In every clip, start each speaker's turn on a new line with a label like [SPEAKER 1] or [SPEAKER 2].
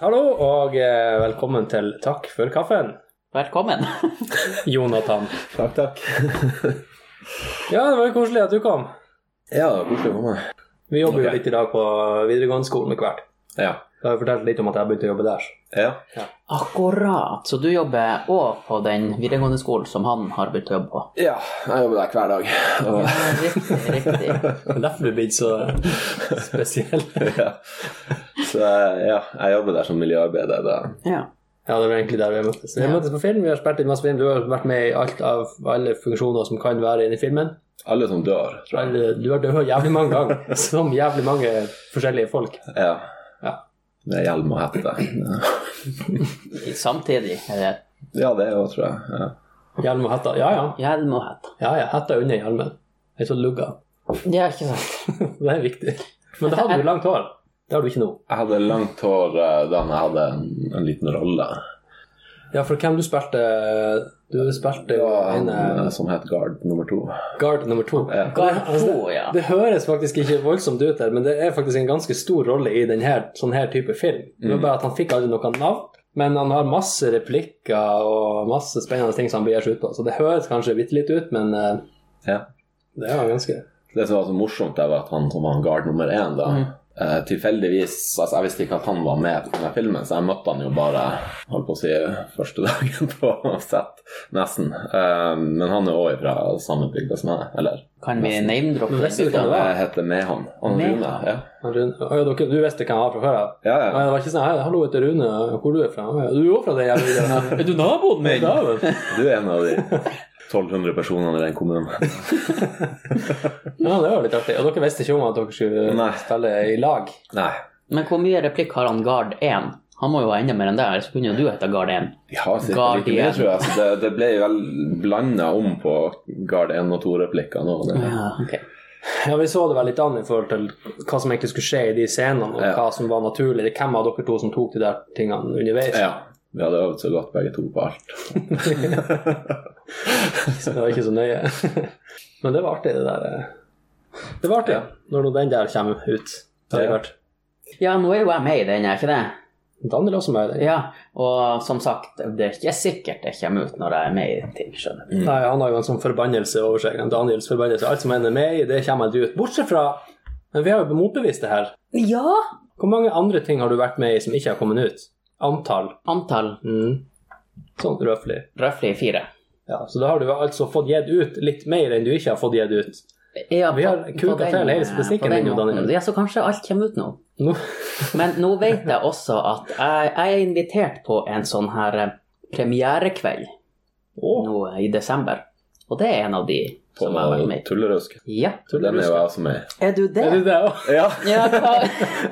[SPEAKER 1] Hallo, og eh, velkommen til Takk for kaffen,
[SPEAKER 2] Velkommen.
[SPEAKER 1] Jonathan.
[SPEAKER 3] Takk, takk.
[SPEAKER 1] Ja, det var jo koselig at du kom.
[SPEAKER 3] Ja, det var koselig å komme.
[SPEAKER 1] Vi jobber
[SPEAKER 3] Ok.
[SPEAKER 1] jo litt i dag på videregående skolen med hvert.
[SPEAKER 3] Ja.
[SPEAKER 1] Da har jeg fortalt litt om at jeg begynte å jobbe der.
[SPEAKER 3] Ja.
[SPEAKER 2] Akkurat. Så du jobber òg på den videregående skolen som han har begynt å jobbe på.
[SPEAKER 3] ja, jeg jobber der hver dag.
[SPEAKER 2] Ja,
[SPEAKER 3] Og,
[SPEAKER 2] riktig, riktig.
[SPEAKER 1] Det er derfor vi blir så spesielle.
[SPEAKER 3] ja. Så ja, jeg jobber der som miljøarbeider. Da.
[SPEAKER 2] Ja.
[SPEAKER 1] Ja, det var egentlig der vi møttes. Vi
[SPEAKER 2] Ja.
[SPEAKER 1] møttes på film, vi har spilt inn masse film. Du har vært med i alt av alle funksjoner som kan være inne i filmen.
[SPEAKER 3] Alle som dør, tror jeg.
[SPEAKER 1] Alle- Du har dødd jævlig mange ganger, som jævlig mange forskjellige folk.
[SPEAKER 3] Ja.
[SPEAKER 1] Ja.
[SPEAKER 3] Med hjelm og hette. Ja,
[SPEAKER 2] Samtidig. eh,
[SPEAKER 3] ja det òg, tror jeg. Ja.
[SPEAKER 1] Hjelm og hetta. Ja, ja.
[SPEAKER 2] Hjelm og hette.
[SPEAKER 1] Ja, ja, hetta under hjelmen. Jeg så lugga.
[SPEAKER 2] Ja, ikke sant.
[SPEAKER 1] Det er viktig. Men da hadde du langt hår. Det har du ikke nå.
[SPEAKER 3] Jeg hadde langt hår eh, da jeg hadde en, en liten rolle.
[SPEAKER 1] Ja, for hvem du spilte Du spilte
[SPEAKER 3] Det
[SPEAKER 1] jo
[SPEAKER 3] var
[SPEAKER 1] en
[SPEAKER 3] han
[SPEAKER 1] eh,
[SPEAKER 3] eh, som het Guard nummer to.
[SPEAKER 1] guard nummer to.
[SPEAKER 3] Ja.
[SPEAKER 2] Guard to, ja.
[SPEAKER 1] Det høres faktisk ikke voldsomt ut, her, men det er faktisk en ganske stor rolle i denne sånn her type film. Det var bare at han fikk aldri noe navn, men han har masse replikker og masse spennende ting som han begir seg ut på. Så det høres kanskje bitte litt ut, men eh,
[SPEAKER 3] Ja.
[SPEAKER 1] det er jo ganske
[SPEAKER 3] Det som var så morsomt, det var at han som var en guard nummer én, da eh, Tilfeldigvis altså Jeg visste ikke at han var med på denne filmen, så jeg møtte han jo bare holdt på å si, første dagen på sett, nesten. Eh, men han er òg fra samme bygda som jeg, eller?
[SPEAKER 2] Kan vi
[SPEAKER 1] Men
[SPEAKER 2] name-droppe den
[SPEAKER 1] visste du hvem det
[SPEAKER 2] gutten?
[SPEAKER 1] var?
[SPEAKER 3] Jeg heter Mehamn. Han
[SPEAKER 2] Mehamn?
[SPEAKER 3] Rune. Ja.
[SPEAKER 1] Han Rune- Å ja, dere, du visste hvem han var fra før av?
[SPEAKER 3] Ja,
[SPEAKER 1] Ja.
[SPEAKER 3] ja.
[SPEAKER 1] det var ikke sånn «Hei, 'Hallo, jeg heter Rune. Hvor du er fra?' «Ja, 'Du er jo fra den jævla videoen.» «Er du naboen min?' Ja, vel.
[SPEAKER 3] Du er en av de 1200 personene i den kommunen.
[SPEAKER 1] ja, det var litt artig. Og dere visste ikke om at dere skulle
[SPEAKER 3] Nei.
[SPEAKER 1] spille i lag?
[SPEAKER 3] Nei,
[SPEAKER 2] Men hvor mye replikk har han Guard 1? Han må jo ha enda mer enn det, ellers kunne jo du hete Guard 1.
[SPEAKER 3] vi har sikkert
[SPEAKER 2] Guard
[SPEAKER 3] like mye,
[SPEAKER 2] igjen.
[SPEAKER 3] tror jeg. Så det, det ble jo vel blanda om på Guard 1 og 2-replikkene òg.
[SPEAKER 2] Ja, ok.
[SPEAKER 1] Ja, vi så det vel litt an i forhold til hva som egentlig skulle skje i de scenene, og
[SPEAKER 3] Ja.
[SPEAKER 1] hva som var naturlig. Hvem av dere to som tok de der tingene underveis?
[SPEAKER 3] Ja. Vi hadde øvd så godt begge to på alt.
[SPEAKER 1] Så det var ikke så nøye. Men det var artig, det der. eh. Det var artig
[SPEAKER 3] Ja.
[SPEAKER 1] når nå den der kommer ut. Har jeg
[SPEAKER 3] Ja.
[SPEAKER 1] hørt.
[SPEAKER 2] ja, nå er jo jeg med i den, er jeg ikke det?
[SPEAKER 1] Daniel også med i den.
[SPEAKER 2] Ja, og som sagt, det er ikke sikkert det kommer ut når jeg er med i ting, skjønner du.
[SPEAKER 1] Nei, han har jo en sånn forbannelse over seg. En Daniels forbannelse. Alt som han er med i, det kommer aldri ut. Bortsett fra Men vi har jo motbevist det her.
[SPEAKER 2] Ja!
[SPEAKER 1] Hvor mange andre ting har du vært med i som ikke har kommet ut? Antall.
[SPEAKER 2] Antall
[SPEAKER 1] Mm. Sånn røffelig.
[SPEAKER 2] røftlig fire.
[SPEAKER 1] Ja, så da har du altså fått gitt ut litt mer enn du ikke har fått gitt ut.
[SPEAKER 2] Ja,
[SPEAKER 1] Vi
[SPEAKER 2] på-
[SPEAKER 1] har kuka
[SPEAKER 2] på den-
[SPEAKER 1] feil hele statistikken
[SPEAKER 2] på den
[SPEAKER 1] din, jo, Daniel.
[SPEAKER 2] måten. Ja, så kanskje alt kommer ut nå.
[SPEAKER 1] Nå,
[SPEAKER 2] Men nå vet jeg også at jeg, jeg er invitert på en sånn her eh, premierekveld
[SPEAKER 1] Åh,
[SPEAKER 2] nå eh, i desember. Og det er en av de
[SPEAKER 3] På
[SPEAKER 2] som jeg har vært med i.
[SPEAKER 3] Tullerusk.
[SPEAKER 2] Ja.
[SPEAKER 1] tuller
[SPEAKER 3] Den
[SPEAKER 1] du?
[SPEAKER 3] er jo jeg også med i.
[SPEAKER 2] Er du det?
[SPEAKER 1] Er det det også?
[SPEAKER 3] Ja,
[SPEAKER 2] Ja, hva?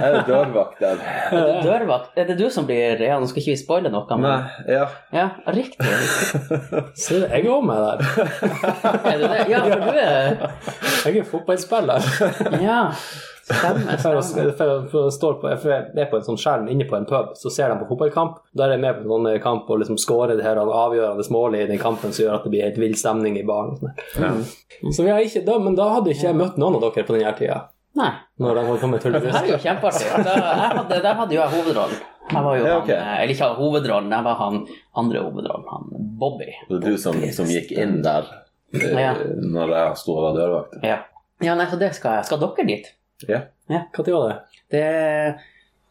[SPEAKER 3] jeg er dørvakt der.
[SPEAKER 2] Er du dørvakt? Er det du som blir Ja, nå skal ikke vi spoile noe, men
[SPEAKER 3] Nei, ja.
[SPEAKER 2] Ja, riktig.
[SPEAKER 1] Se, jeg er også med der.
[SPEAKER 2] Er du det? Ja, for du er
[SPEAKER 1] Jeg er fotballspiller.
[SPEAKER 2] Ja. Stemmer.
[SPEAKER 1] For å-
[SPEAKER 2] stemmer.
[SPEAKER 1] for- for å stå på- for Jeg er på en sånn skjerm inne på en pub, så ser de på fotballkamp. Der er jeg med på noen kamp og liksom scorer det her avgjørende målet i den kampen som gjør at det blir helt vill stemning i baren. og sånn der. Så vi har ikke, da, men da hadde ikke jeg møtt noen av dere på den her tida.
[SPEAKER 2] Nei.
[SPEAKER 1] Når de holdt på med
[SPEAKER 2] Det her
[SPEAKER 1] tullerus.
[SPEAKER 2] er jo kjempeartig. Da- jeg hadde- Der hadde jo jeg hovedrollen. Jeg var jo
[SPEAKER 3] Ja,
[SPEAKER 2] han,
[SPEAKER 3] ok.
[SPEAKER 2] eh, Eller ikke hovedrollen, jeg var han andre hovedrollen, han Bobby.
[SPEAKER 3] Det er du som, som gikk inn der eh,
[SPEAKER 2] Ja.
[SPEAKER 3] når jeg sto og var dørvakt.
[SPEAKER 2] Ja, ja nei, så det skal jeg. Skal dere dit?
[SPEAKER 3] Ja.
[SPEAKER 1] Når var det?
[SPEAKER 2] Det,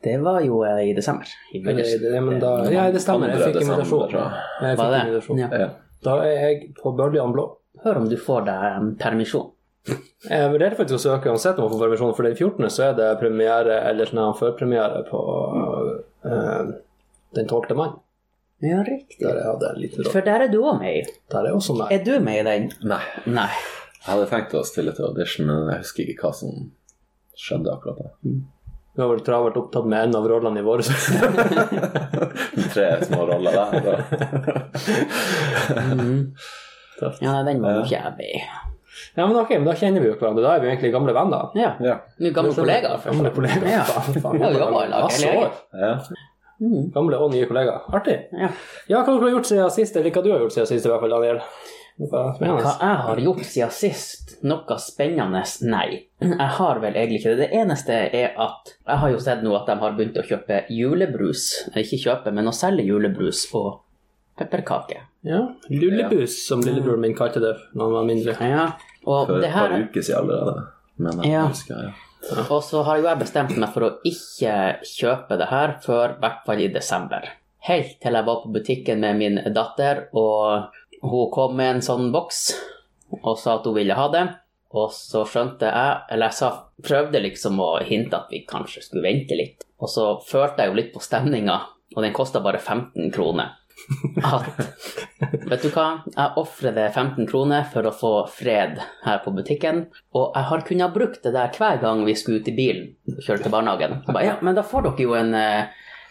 [SPEAKER 2] det var jo eh, i desember. I Eh,
[SPEAKER 1] Ja, det-
[SPEAKER 2] august.
[SPEAKER 1] det- men da- Ja, det stemmer. Jeg
[SPEAKER 3] Andre
[SPEAKER 1] fikk
[SPEAKER 3] desember,
[SPEAKER 1] invitasjon.
[SPEAKER 3] tror jeg.
[SPEAKER 1] Jeg
[SPEAKER 2] Var
[SPEAKER 1] fikk
[SPEAKER 2] det?
[SPEAKER 1] invitasjon.
[SPEAKER 2] Ja.
[SPEAKER 3] Ja.
[SPEAKER 1] Da er jeg på Bøljan Blå.
[SPEAKER 2] Hør om du får deg em, permisjon.
[SPEAKER 1] Jeg vurderte faktisk å søke uansett om å få permisjon, for den 14. så er det premiere, eller sånn her førpremiere på eh, Den tolvte mann.
[SPEAKER 2] Ja, riktig.
[SPEAKER 1] Der jeg hadde en liten rolle.
[SPEAKER 2] For der er du òg med i.
[SPEAKER 1] Der er jeg også med.
[SPEAKER 2] Er du med i den?
[SPEAKER 3] Nei,
[SPEAKER 2] Nei.
[SPEAKER 3] jeg hadde tenkt å stille til audition, men jeg husker ikke hva som skjedde akkurat da.
[SPEAKER 1] Du har vel travelt opptatt med en av rollene i våre. så-
[SPEAKER 3] Tre små roller der. Da.
[SPEAKER 1] Tøft.
[SPEAKER 2] Mhm. Ja, nei, den var jo ikke jeg med i.
[SPEAKER 1] ja, men ok, men da kjenner vi jo hverandre. Da er vi jo egentlig gamle venner.
[SPEAKER 2] Ja.
[SPEAKER 3] Ja.
[SPEAKER 2] Vi er gamle
[SPEAKER 1] Du skjønner,
[SPEAKER 2] kollegaer.
[SPEAKER 1] sånn Gamle kollegaer.
[SPEAKER 2] Ja.
[SPEAKER 1] Faen, faen,
[SPEAKER 2] Ja, vi jobber i lag
[SPEAKER 1] masse
[SPEAKER 2] hele
[SPEAKER 1] år.
[SPEAKER 2] gjengen.
[SPEAKER 3] Ja.
[SPEAKER 2] Mm.
[SPEAKER 1] Gamle og nye kollegaer. Artig.
[SPEAKER 2] Ja.
[SPEAKER 1] Ja, hva har dere gjort siden sist, eller hva du har gjort siden sist, i hvert fall, Daniel? Det var
[SPEAKER 2] Hva
[SPEAKER 1] spennende.
[SPEAKER 2] jeg har gjort siden sist? noe spennende? Nei. Jeg har vel egentlig ikke det. Det eneste er at jeg har jo sett nå at de har begynt å kjøpe julebrus. Ikke kjøpe, men å selge julebrus og pepperkaker.
[SPEAKER 1] Ja. Lullebus, som lillebroren min kalte det da han var mindre.
[SPEAKER 2] Ja. Og
[SPEAKER 3] For
[SPEAKER 2] det
[SPEAKER 3] et
[SPEAKER 2] her
[SPEAKER 3] par uker siden allerede. Men jeg
[SPEAKER 2] Ja.
[SPEAKER 3] husker ja.
[SPEAKER 2] Og så har jo jeg bestemt meg for å ikke kjøpe det her før i hvert fall i desember. Helt til jeg var på butikken med min datter, og hun kom med en sånn boks og sa at hun ville ha det. Og så skjønte jeg, eller jeg sa, prøvde liksom å hinte at vi kanskje skulle vente litt. Og så følte jeg jo litt på stemninga, og den kosta bare 15 kroner. At Vet du hva, jeg ofrer det 15 kroner for å få fred her på butikken, og jeg har kunnet ha brukt det der hver gang vi skulle ut i bilen og kjøre til barnehagen. Jeg ba, ja, men da får dere jo en, eh,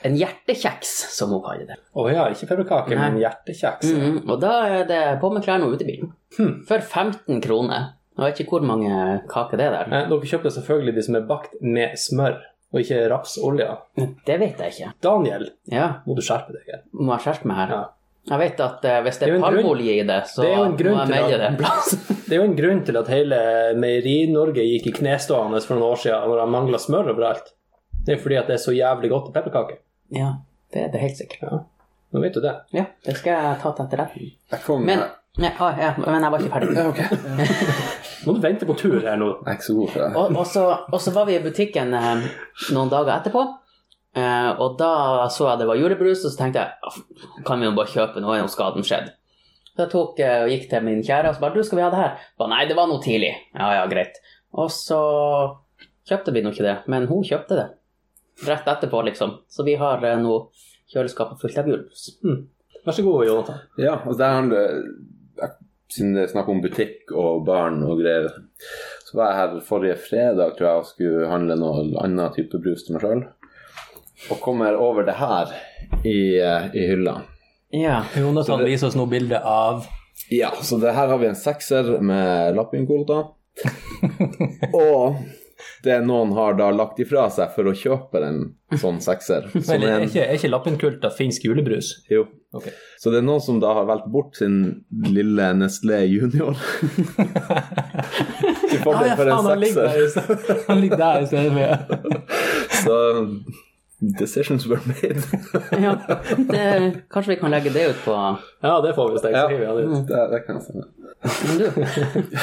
[SPEAKER 2] en hjertekjeks, som hun kaller det.
[SPEAKER 1] Å ja, ikke pepperkake, men hjertekjeks.
[SPEAKER 2] Mhm, og da er det på med klærne og ut i bilen.
[SPEAKER 1] Hm.
[SPEAKER 2] For 15 kroner. Jeg vet ikke hvor mange kaker det er der.
[SPEAKER 1] Eh, Dere kjøper selvfølgelig de som er bakt med smør, og ikke rapsolje.
[SPEAKER 2] Det vet jeg ikke.
[SPEAKER 1] Daniel,
[SPEAKER 2] Ja,
[SPEAKER 1] må du skjerpe deg. her.
[SPEAKER 2] må jeg skjerpe meg her?
[SPEAKER 1] Ja.
[SPEAKER 2] Jeg vet at eh, hvis det
[SPEAKER 1] Det er jo
[SPEAKER 2] er
[SPEAKER 1] en grunn-
[SPEAKER 2] palmeolje i det, så
[SPEAKER 1] Det er jo en
[SPEAKER 2] må
[SPEAKER 1] grunn
[SPEAKER 2] jeg
[SPEAKER 1] til at-
[SPEAKER 2] melde det en plass.
[SPEAKER 1] Det er jo en grunn til at hele Meieri-Norge gikk i knestående for noen år siden når de mangla smør overalt. Det er fordi at det er så jævlig godt til pepperkaker.
[SPEAKER 2] ja, det er det helt sikkert.
[SPEAKER 1] Nå vet du det.
[SPEAKER 2] Ja, det skal jeg ta til etterretning.
[SPEAKER 3] Jeg kom
[SPEAKER 2] Men, ja,
[SPEAKER 3] jeg
[SPEAKER 2] ah, ja, men jeg var ikke ferdig.
[SPEAKER 3] Ja, ok. Jeg
[SPEAKER 1] Må du vente på tur her nå.
[SPEAKER 3] er ikke så god til det.
[SPEAKER 2] Og, og, så, og så var vi i butikken eh, noen dager etterpå, eh, og da så jeg det var julebrus, og så tenkte jeg "Aff, kan vi jo bare kjøpe noe, nå skal den skjedd. Så jeg tok eh, og gikk til min kjære og så bare du, skal vi ha det her? Ba, Nei, det var noe tidlig. Ja, ja, greit. Og så kjøpte vi nå ikke det, men hun kjøpte det. Rett etterpå, liksom. Så vi har eh, nå kjøleskapet fullt av julebrus.
[SPEAKER 1] Mm. Vær så god, Jonathan.
[SPEAKER 3] Ja, altså der handler jeg- Siden det er snakk om butikk og barn og greier, så var jeg her forrige fredag tror jeg, og skulle handle noe annen type brus til meg sjøl. Og kommer over det her i, eh, i hylla.
[SPEAKER 2] Ja.
[SPEAKER 1] Jonathan viser oss nå bilde av
[SPEAKER 3] Ja, så det her har vi en sekser med lappinkoder. og det noen har da lagt ifra seg for å kjøpe en sånn sekser. Som
[SPEAKER 1] Men
[SPEAKER 3] er
[SPEAKER 1] er
[SPEAKER 3] en,
[SPEAKER 1] ikke, er ikke lappenkulta finsk julebrus?
[SPEAKER 3] jo.
[SPEAKER 1] Ok.
[SPEAKER 3] Så det er noen som da har valgt bort sin lille Nestlé Junior. Til fordel for en sekser.
[SPEAKER 1] Han ligger der i stedet for
[SPEAKER 3] Så um, decisions were made.
[SPEAKER 2] ja. Det, kanskje vi kan legge det ut på
[SPEAKER 1] Ja, det får vi hvis jeg
[SPEAKER 3] Ja.
[SPEAKER 1] skriver det ut.
[SPEAKER 3] det, det kan jeg stemme.
[SPEAKER 2] Men du,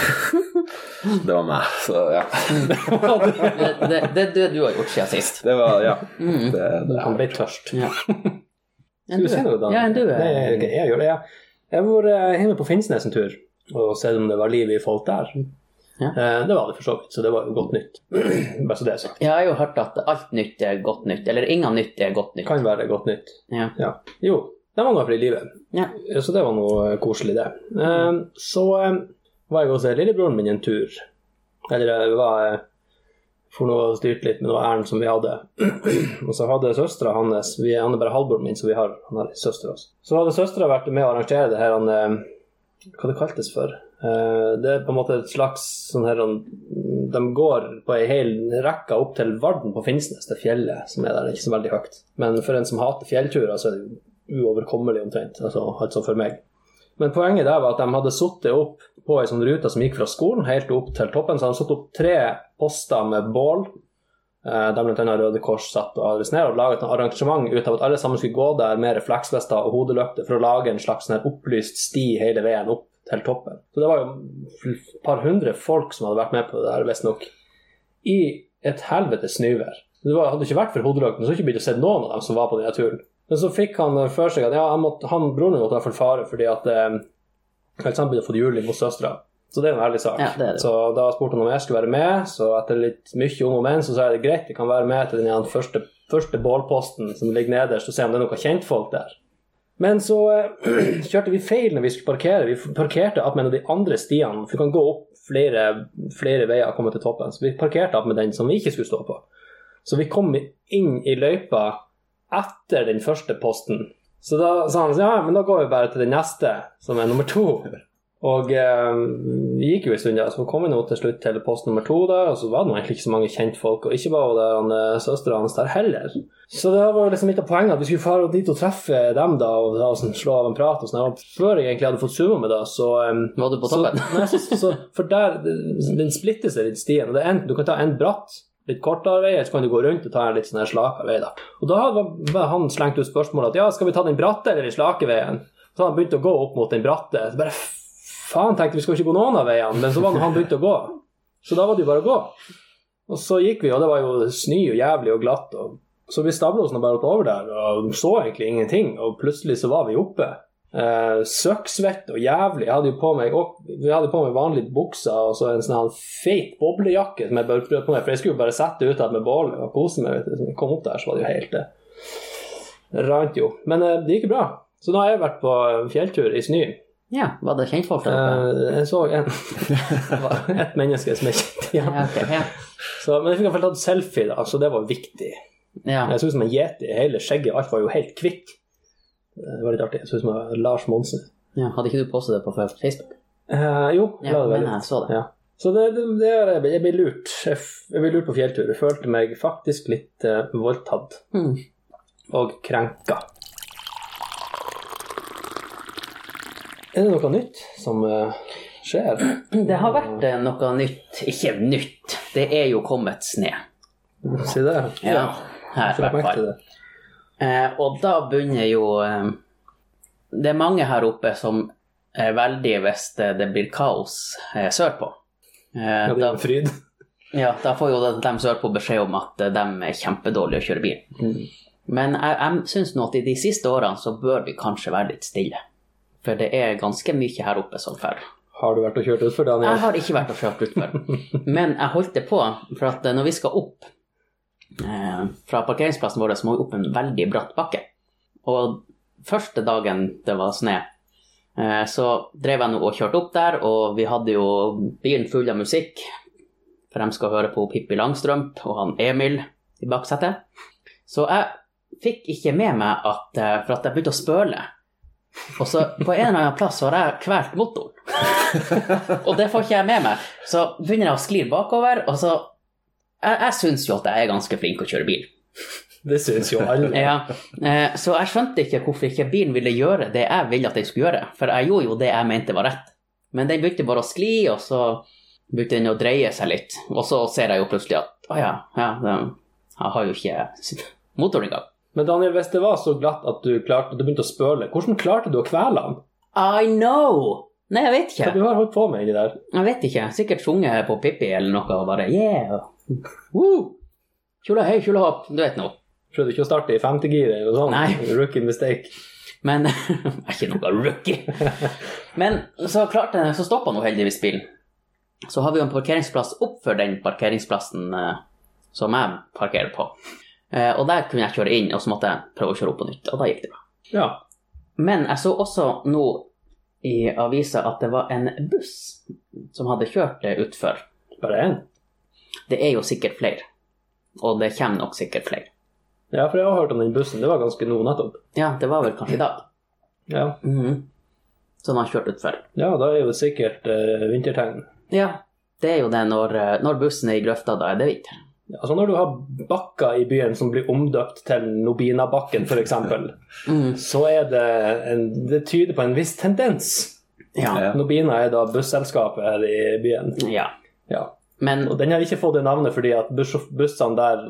[SPEAKER 3] Det var meg, så ja.
[SPEAKER 2] det, det, det er det du har gjort siden sist.
[SPEAKER 3] Det var ja. Det, det.
[SPEAKER 1] Han ble tørst.
[SPEAKER 2] Ja.
[SPEAKER 1] Skal du si noe, da?
[SPEAKER 2] Ja, enn du er.
[SPEAKER 1] Nei, ok, jeg gjør det, ja. Jeg var eh, hjemme på Finnsnes en tur og sett om det var liv i folk der.
[SPEAKER 2] Ja.
[SPEAKER 1] Eh, Det var det for så vidt, så det var jo godt nytt. Bare så det er sagt.
[SPEAKER 2] Jeg har jo hørt at alt nytt er godt nytt, eller ingen nytt er godt
[SPEAKER 1] Det
[SPEAKER 2] nytt.
[SPEAKER 1] kan være godt nytt.
[SPEAKER 2] Ja.
[SPEAKER 1] Ja. Jo, det var noe for i livet.
[SPEAKER 2] Ja.
[SPEAKER 1] Så det var noe eh, koselig, det. Eh, Så eh, var jeg hos eh, lillebroren min en tur. Eller det var eh, for noe styrt litt med noe ærend som vi hadde. og så hadde søstera hans vi, Han er bare halvbroren min, så vi har, han har søster også. Så hadde søstera vært med å arrangere det her han, eh, Hva det kaltes for? Eh, det er på en måte et slags sånn her han, De går på ei hel rekke opp til Varden på Finnsnes, det fjellet som er der. Ikke så veldig høyt. Men for en som hater fjellturer, så er det jo uoverkommelig omtrent. Altså, altså for meg. Men poenget der var at de hadde sittet opp på ei sånn rute som gikk fra skolen helt opp til toppen. Så de hadde satt opp tre poster med bål, eh, der bl.a. Røde Kors satt og adresserte ned, og laget et arrangement ut av at alle sammen skulle gå der med refleksvester og hodelykter for å lage en slags sånn her opplyst sti hele veien opp til toppen. Så det var jo et par hundre folk som hadde vært med på det der, visstnok, i et helvetes snøvær. Det var, hadde det ikke vært for hodelykten, så hadde det ikke blitt å se noen av dem som var på den turen. Men så fikk han eh, for seg at ja, han, måtte, han broren min måtte i hvert fall fare fordi at eh, Alexander begynte å få det juling hos søstera. Så det er en ærlig sak.
[SPEAKER 2] Ja, det er det.
[SPEAKER 1] Så da spurte han om jeg skulle være med, så etter litt mye om og men, så sa jeg det er greit, jeg kan være med til den her første, første bålposten som ligger nederst, og se om det er noen kjentfolk der. Men så eh, kjørte vi feil når vi skulle parkere. Vi f- parkerte opp med en av de andre stiene. for Vi kan gå opp flere, flere veier og komme til toppen. Så vi parkerte opp med den som vi ikke skulle stå på. Så vi kom inn i løypa etter den første posten. Så da sa han ja, men da går vi bare til den neste, som er nummer to. Og eh, vi gikk jo en stund, ja, så kom vi nå til slutt til post nummer to, da, og så var det nå egentlig ikke så mange kjentfolk, og ikke var det eh, søstera hans der heller. Så det var jo liksom litt av poenget at vi skulle fare dit og treffe dem da, og ta oss en- slå av en prat. og sånn. her. Og Før jeg egentlig hadde fått summa med det, så eh,
[SPEAKER 2] Var du på
[SPEAKER 1] så,
[SPEAKER 2] toppen?
[SPEAKER 1] nei, så, så, for der, den splitter seg litt stien. og det er en, Du kan ta en bratt, litt kortere vei, eller så kan du gå rundt og ta en litt sånn her slaka vei. da. Og da hadde var han slengt ut spørsmålet at ja, skal vi ta den bratte eller den slake veien? Så han begynte å gå opp mot den bratte. Så bare faen, tenkte vi skal jo ikke gå noen av veiene, men så var han, han begynte å gå. Så da var det jo bare å gå. Og så gikk vi, og det var jo snø og jævlig og glatt. Og så vi stabla oss nå bare over der og så egentlig ingenting, og plutselig så var vi oppe. Eh, Søkksvett og jævlig. Jeg hadde jo på meg, og, vi hadde jo på meg vanlige bukser og så en sånn her feit boblejakke som jeg bare prøvde på meg, for jeg skulle jo bare sette ut her med bålet og kose meg. Vet du. Så jeg kom opp der, så var det jo helt eh, Det rant jo. Men eh, det gikk jo bra. Så nå har jeg vært på eh, fjelltur i snø.
[SPEAKER 2] Ja, var det kjentfolk der oppe?
[SPEAKER 1] Eh, jeg så en, et menneske som jeg kjente igjen.
[SPEAKER 2] Ja, ok, ja.
[SPEAKER 1] Så, men jeg fikk i hvert fall tatt selfie, da, så det var viktig.
[SPEAKER 2] ja.
[SPEAKER 1] Jeg så ut som en yeti. Hele skjegget alt var jo helt kvitt. Det var litt artig. Jeg så ut som en Lars Monsen.
[SPEAKER 2] Ja, hadde ikke du postet det på Facebook?
[SPEAKER 1] Eh, jo,
[SPEAKER 2] Ja,
[SPEAKER 1] la det
[SPEAKER 2] men
[SPEAKER 1] være
[SPEAKER 2] jeg så det.
[SPEAKER 1] Ja. Så det, det, det er, jeg blir lurt. Jeg, f- jeg blir lurt på fjelltur. Jeg følte meg faktisk litt eh, voldtatt
[SPEAKER 2] Hmm.
[SPEAKER 1] og krenka. Er det noe nytt som eh, skjer?
[SPEAKER 2] Det har vært eh, noe nytt. Ikke nytt, det er jo kommet sne.
[SPEAKER 1] Si det.
[SPEAKER 2] Ja, her
[SPEAKER 1] Jeg
[SPEAKER 2] i hvert fall.
[SPEAKER 1] merket det.
[SPEAKER 2] Eh, og da begynner jo eh, Det er mange her oppe som er veldig hvis det, det blir kaos eh, sørpå. Eh,
[SPEAKER 1] Ja, det
[SPEAKER 2] da,
[SPEAKER 1] er en fryd.
[SPEAKER 2] ja, da får jo de, de sørpå beskjed om at eh, de er kjempedårlige å kjøre bil. Men jeg, jeg syns nå at i de siste årene så bør vi kanskje være litt stille. For det er ganske mye her oppe som før.
[SPEAKER 1] Har du vært og kjørt utfor, Daniel?
[SPEAKER 2] Jeg har ikke vært og kjørt utfor. Men jeg holdt det på, for at når vi skal opp eh, fra parkeringsplassen vår, så må vi opp en veldig bratt bakke. Og første dagen det var snø, eh, så drev jeg nå og kjørte opp der, og vi hadde jo bilen full av musikk. For de skal høre på Pippi Langstrømp og han Emil i baksetet. Så jeg fikk ikke med meg at eh, For at jeg begynte å spøle. Og så på en eller annen plass så har jeg kvelt motoren. Og det får ikke jeg med meg. Så begynner jeg å skli bakover, og så Jeg, jeg syns jo at jeg er ganske flink å kjøre bil.
[SPEAKER 1] Det syns jo alle.
[SPEAKER 2] Ja. eh, Så jeg skjønte ikke hvorfor ikke bilen ville gjøre det jeg ville at den skulle gjøre, for jeg gjorde jo det jeg mente var rett. Men den begynte bare å skli, og så begynte den å dreie seg litt. Og så ser jeg jo plutselig at å ja, ja den- jeg har jo ikke motoren engang.
[SPEAKER 1] Men Daniel, hvis det var så glatt at du, klarte, du begynte å spøle, hvordan klarte du å kvele han?
[SPEAKER 2] I know! Nei, jeg vet
[SPEAKER 1] For
[SPEAKER 2] ikke.
[SPEAKER 1] Du har holdt på med det der.
[SPEAKER 2] Jeg vet ikke. Sikkert sunget på Pippi eller noe og bare yeah. Woo! Kjole høy, kjole hopp. Du vet nå.
[SPEAKER 1] Prøvde ikke å starte i femtegir eller noe sånt.
[SPEAKER 2] Nei.
[SPEAKER 1] Rookie mistake.
[SPEAKER 2] Men jeg er ikke noe rookie. Men så klarte jeg, så stoppa nå heldigvis bilen. Så har vi jo en parkeringsplass oppfor den parkeringsplassen eh, som jeg parkerer på. Eh, og der kunne jeg kjøre inn, og så måtte jeg prøve å kjøre opp på nytt. Og da gikk det bra.
[SPEAKER 1] Ja.
[SPEAKER 2] Men jeg så også nå i avisa at det var en buss som hadde kjørt eh, utfor.
[SPEAKER 1] Bare én?
[SPEAKER 2] Det er jo sikkert flere. Og det kommer nok sikkert flere.
[SPEAKER 1] Ja, for jeg har hørt om den bussen. Det var ganske nå nettopp.
[SPEAKER 2] Ja, det var vel kanskje i dag.
[SPEAKER 1] Ja,
[SPEAKER 2] Mhm. Som han kjørte utfor.
[SPEAKER 1] ja da er jo sikkert eh, vintertegn.
[SPEAKER 2] Ja, det er jo det når, eh, når bussen er i grøfta, da er det vinter.
[SPEAKER 1] Altså Når du har bakker i byen som blir omdøpt til Nobinabakken f.eks.,
[SPEAKER 2] Mhm.
[SPEAKER 1] så er det en, Det tyder på en viss tendens.
[SPEAKER 2] Ja.
[SPEAKER 3] Ja.
[SPEAKER 1] Nobina er da busselskapet her i byen.
[SPEAKER 2] Eh, ja.
[SPEAKER 1] Ja.
[SPEAKER 2] Men
[SPEAKER 1] Og den har ikke fått det navnet fordi at buss, bussene der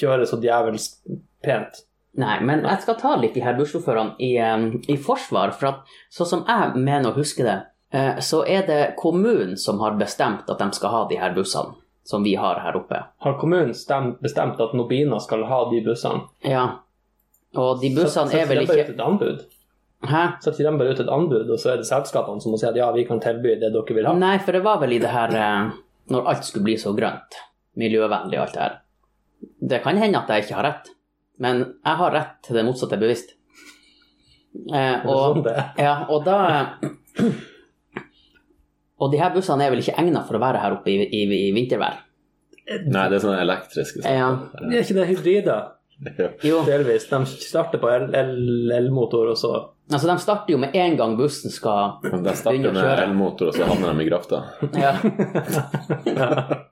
[SPEAKER 1] kjører så djevelsk pent.
[SPEAKER 2] Nei, men jeg skal ta litt de her bussjåførene i, eh, i forsvar, for at sånn som jeg mener å huske det, eh, så er det kommunen som har bestemt at de skal ha de her bussene som vi har her oppe.
[SPEAKER 1] Har kommunen stemt, bestemt at Nobina skal ha de bussene?
[SPEAKER 2] Ja. Og de
[SPEAKER 1] Så-
[SPEAKER 2] bussene
[SPEAKER 1] setter
[SPEAKER 2] er vel
[SPEAKER 1] de bare
[SPEAKER 2] ikke
[SPEAKER 1] ut et anbud?
[SPEAKER 2] Hæ?
[SPEAKER 1] Setter de bare ut et anbud, og så er det selskapene som må si at ja, vi kan tilby det dere vil ha?
[SPEAKER 2] Nei, for det var vel i det her eh, Når alt skulle bli så grønt, miljøvennlig og alt det her. Det kan hende at jeg ikke har rett, men jeg har rett til det motsatte er bevisst. Eh,
[SPEAKER 1] Det er
[SPEAKER 2] og,
[SPEAKER 1] sånn det er.
[SPEAKER 2] ja, og da Og de her bussene er vel ikke egnet for å være her oppe i, i, i vintervær?
[SPEAKER 3] Nei, det er sånne elektriske
[SPEAKER 2] Ja.
[SPEAKER 1] Det er ikke det hybrider,
[SPEAKER 3] saker.
[SPEAKER 2] Jo.
[SPEAKER 1] delvis. De starter på el- el- elmotor, og så
[SPEAKER 2] Altså, de starter jo med en gang bussen skal
[SPEAKER 3] De sånn. starter
[SPEAKER 2] begynne å
[SPEAKER 3] med
[SPEAKER 2] kjøre.
[SPEAKER 3] elmotor, og så havner de i grøfta.
[SPEAKER 2] Ja.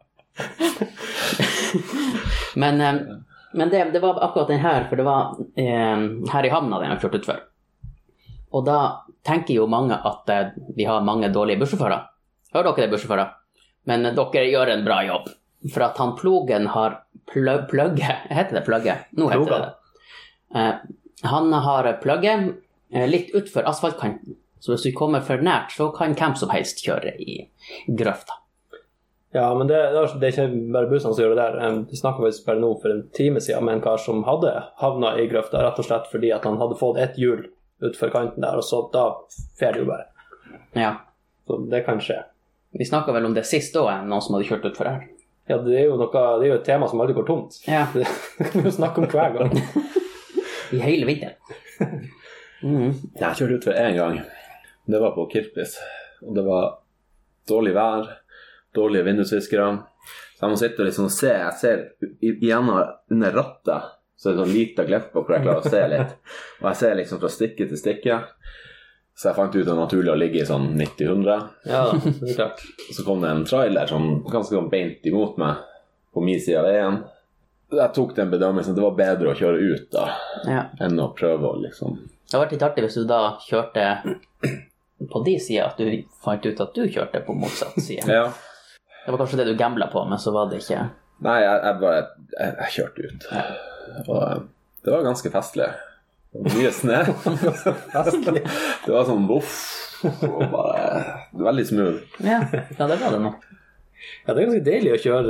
[SPEAKER 2] men eh, men det, det var akkurat den her, for det var eh, her i havna den har kjørt utfor. Og da tenker jo mange at eh, vi har mange dårlige bussjåfører. Hører dere det, bussjåfører? Men eh, dere gjør en bra jobb. For at han plogen har plø- plugget Heter det plugget? Nå heter
[SPEAKER 1] Ploga.
[SPEAKER 2] det det. Eh, han har plugget eh, litt utfor asfaltkanten. Så hvis vi kommer for nært, så kan hvem som helst kjøre i grøfta.
[SPEAKER 1] Ja, men det, det er ikke bare bussene som gjør det der. Em, Vi snakka faktisk bare nå for en time siden med en kar som hadde havna i grøfta, rett og slett fordi at han hadde fått ett hjul utfor kanten der, og så da fer det jo bare.
[SPEAKER 2] Ja.
[SPEAKER 1] Så det kan skje.
[SPEAKER 2] Vi snakka vel om det sist òg, noen som hadde kjørt utfor her.
[SPEAKER 1] Ja, det er jo noe Det er jo et tema som aldri går tomt.
[SPEAKER 2] Ja.
[SPEAKER 1] Det kan vi jo snakke om hver gang.
[SPEAKER 2] I hele vinteren. Mm.
[SPEAKER 3] Jeg kjørte utfor én gang. Det var på Kirpis. Og det var dårlig vær, dårlige vindusviskere. Så jeg må sitte og liksom se. Jeg ser i- igjennom under rattet, så er det sånn lita glipp på hvor jeg klarer å se litt. Og jeg ser liksom fra stikke til stikke. Så jeg fant ut det var naturlig å ligge i sånn 90-100.
[SPEAKER 1] Ja, det er klart.
[SPEAKER 3] Og så kom det en trailer som ganske sånn beint imot meg på min side av veien. Jeg tok den bedømmelsen. Det var bedre å kjøre ut da
[SPEAKER 2] Ja.
[SPEAKER 3] enn å prøve å liksom
[SPEAKER 2] Det hadde vært litt artig hvis du da kjørte på de sida, at du fant ut at du kjørte på motsatt side.
[SPEAKER 3] Ja.
[SPEAKER 2] Det var kanskje det du gambla på, men så var det ikke
[SPEAKER 3] Nei, jeg, jeg bare jeg, jeg kjørte ut. Og eh, det var ganske festlig. Det var Mye snø. det var sånn voff. Og bare Veldig smooth.
[SPEAKER 2] Ja, ja det var det nå.
[SPEAKER 1] Ja, det er ganske deilig å kjøre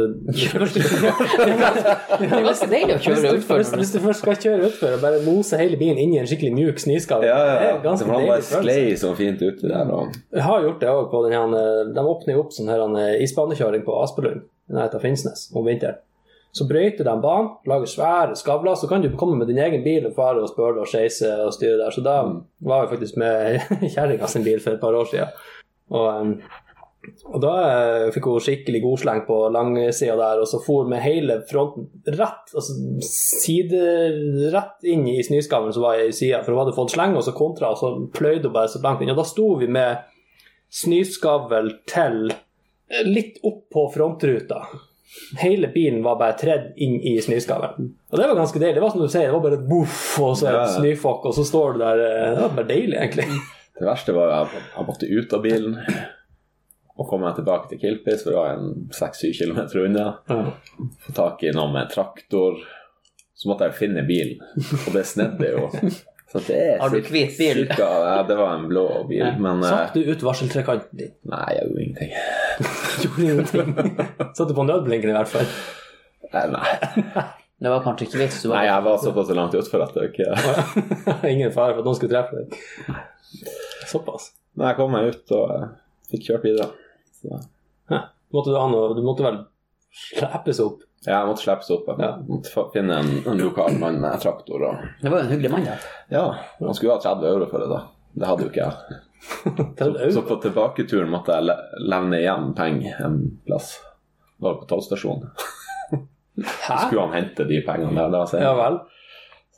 [SPEAKER 2] Det var ganske deilig å kjøre
[SPEAKER 1] Hvis du,
[SPEAKER 2] utfor.
[SPEAKER 1] hvis, hvis du først skal kjøre utfor og bare mose hele bilen inn i en skikkelig mjuk snøskall, det er en
[SPEAKER 3] Det
[SPEAKER 1] ganske
[SPEAKER 3] var
[SPEAKER 1] deilig
[SPEAKER 3] bare
[SPEAKER 1] følelse.
[SPEAKER 3] sklei sånn fint uti der. Og,
[SPEAKER 1] Jeg har gjort det òg på den her De åpner jo opp sånn her eh, isbanekjøring på Aspelund i nærheten av Finnsnes om vinteren. Så brøyter de banen, lager svære skavler, så kan du komme med din egen bil og fare og spøle og skeise og styre der. Så da
[SPEAKER 3] Mm.
[SPEAKER 1] var jeg faktisk med kjerringa sin bil for et par år siden. Og, em, og da eh, fikk hun skikkelig godsleng på langsida der, og så for med hele fronten rett, altså side rett inn i snøskavlen som var i sida, for hun hadde fått sleng, og så kontra, og så pløyde hun bare så langt inn. Og da sto vi med snøskavl til litt opp på frontruta. Hele bilen var bare tredd inn i snøskavlen. Og det var ganske deilig. Det var som du sier, det var bare et boff, og så
[SPEAKER 3] Ja,
[SPEAKER 1] en
[SPEAKER 3] ja.
[SPEAKER 1] snøfokk, og så står du der. eh, Det var bare deilig, egentlig.
[SPEAKER 3] det verste var at jeg, jeg måtte ut av bilen. Og kom jeg tilbake til Kilpis, for det var en 6-7 kilometer unna. Få tak i noe med en traktor. Så måtte jeg finne bilen, og det snedde jo. Så det er
[SPEAKER 2] Har du
[SPEAKER 3] cirka-
[SPEAKER 2] hvit bil?
[SPEAKER 3] cirka- ja, det var en blå bil, men eh,
[SPEAKER 1] Satt du ut varseltrekanten din?
[SPEAKER 3] Nei, jeg gjorde ingenting.
[SPEAKER 1] Gjorde ingenting. Satt du på nødblinken i hvert fall?
[SPEAKER 3] Nei, nei.
[SPEAKER 2] Det var kanskje ikke vits. Du
[SPEAKER 3] nei
[SPEAKER 2] var...
[SPEAKER 3] jeg var såpass langt utfor at det ikke
[SPEAKER 1] Ingen fare for at noen skulle treffe deg. Såpass.
[SPEAKER 3] Men jeg kom meg ut og eh, fikk kjørt videre. Så,
[SPEAKER 1] Hæ. Måtte du, ha noe, du måtte vel slepes opp?
[SPEAKER 3] ja, jeg måtte slippes opp. Jeg
[SPEAKER 1] Ja.
[SPEAKER 3] måtte fa- finne en, en lokal mann med traktor. Og,
[SPEAKER 2] Det var jo en hyggelig mann, da.
[SPEAKER 3] ja, han skulle ha 30 euro for det, da. Det hadde jo ikke jeg.
[SPEAKER 1] Til au.
[SPEAKER 3] Så på tilbaketuren måtte jeg le- levne igjen penger en plass. Det var på tollstasjonen. Så
[SPEAKER 1] Hæ?
[SPEAKER 3] skulle han hente de pengene der. Da, så jeg,
[SPEAKER 1] Ja vel.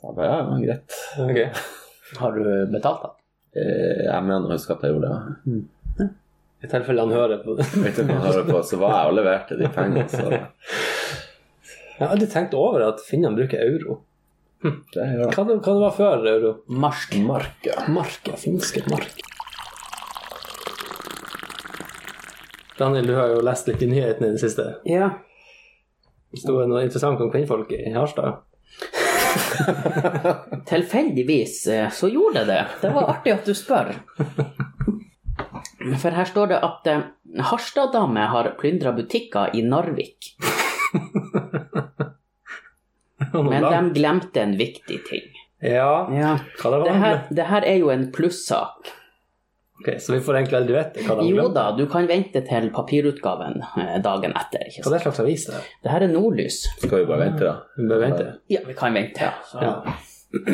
[SPEAKER 3] så jeg bare, ja, greit.
[SPEAKER 1] Ok.
[SPEAKER 2] Har du betalt han?
[SPEAKER 3] Eh, Jeg mener å huske at jeg gjorde det.
[SPEAKER 1] I tilfelle han hører på det.
[SPEAKER 3] Vet du hva han hører på, så var jeg og leverte de pengene. Så
[SPEAKER 1] Jeg har aldri tenkt over at finnene bruker euro.
[SPEAKER 3] det gjør jeg.
[SPEAKER 1] Hva det, hva det var før euro?
[SPEAKER 2] Marsk.
[SPEAKER 3] Mark, ja.
[SPEAKER 1] Marka. Finske mark. Daniel, du har jo lest litt i nyhetene i det siste.
[SPEAKER 2] Ja.
[SPEAKER 1] Sto det noe interessant om kvinnfolk i Harstad?
[SPEAKER 2] Tilfeldigvis eh, så gjorde jeg det. Det var artig at du spør. For her står det at eh, Harstad-dame har plyndra butikker i Narvik. Men de glemte en viktig ting.
[SPEAKER 1] Ja,
[SPEAKER 2] Ja.
[SPEAKER 1] hva det var
[SPEAKER 2] Det her, det her er jo en plussak.
[SPEAKER 1] Ok, Så vi får egentlig aldri vite hva de
[SPEAKER 2] Jo
[SPEAKER 1] glemte.
[SPEAKER 2] da, du kan vente til papirutgaven eh, dagen etter.
[SPEAKER 1] Hva
[SPEAKER 2] Ikke sant?
[SPEAKER 1] det slags avis er det?
[SPEAKER 2] Det her er Nordlys.
[SPEAKER 3] Skal vi bare vente, da?
[SPEAKER 1] Vi bør vente.
[SPEAKER 2] Ja, vi kan vente.
[SPEAKER 1] Ja.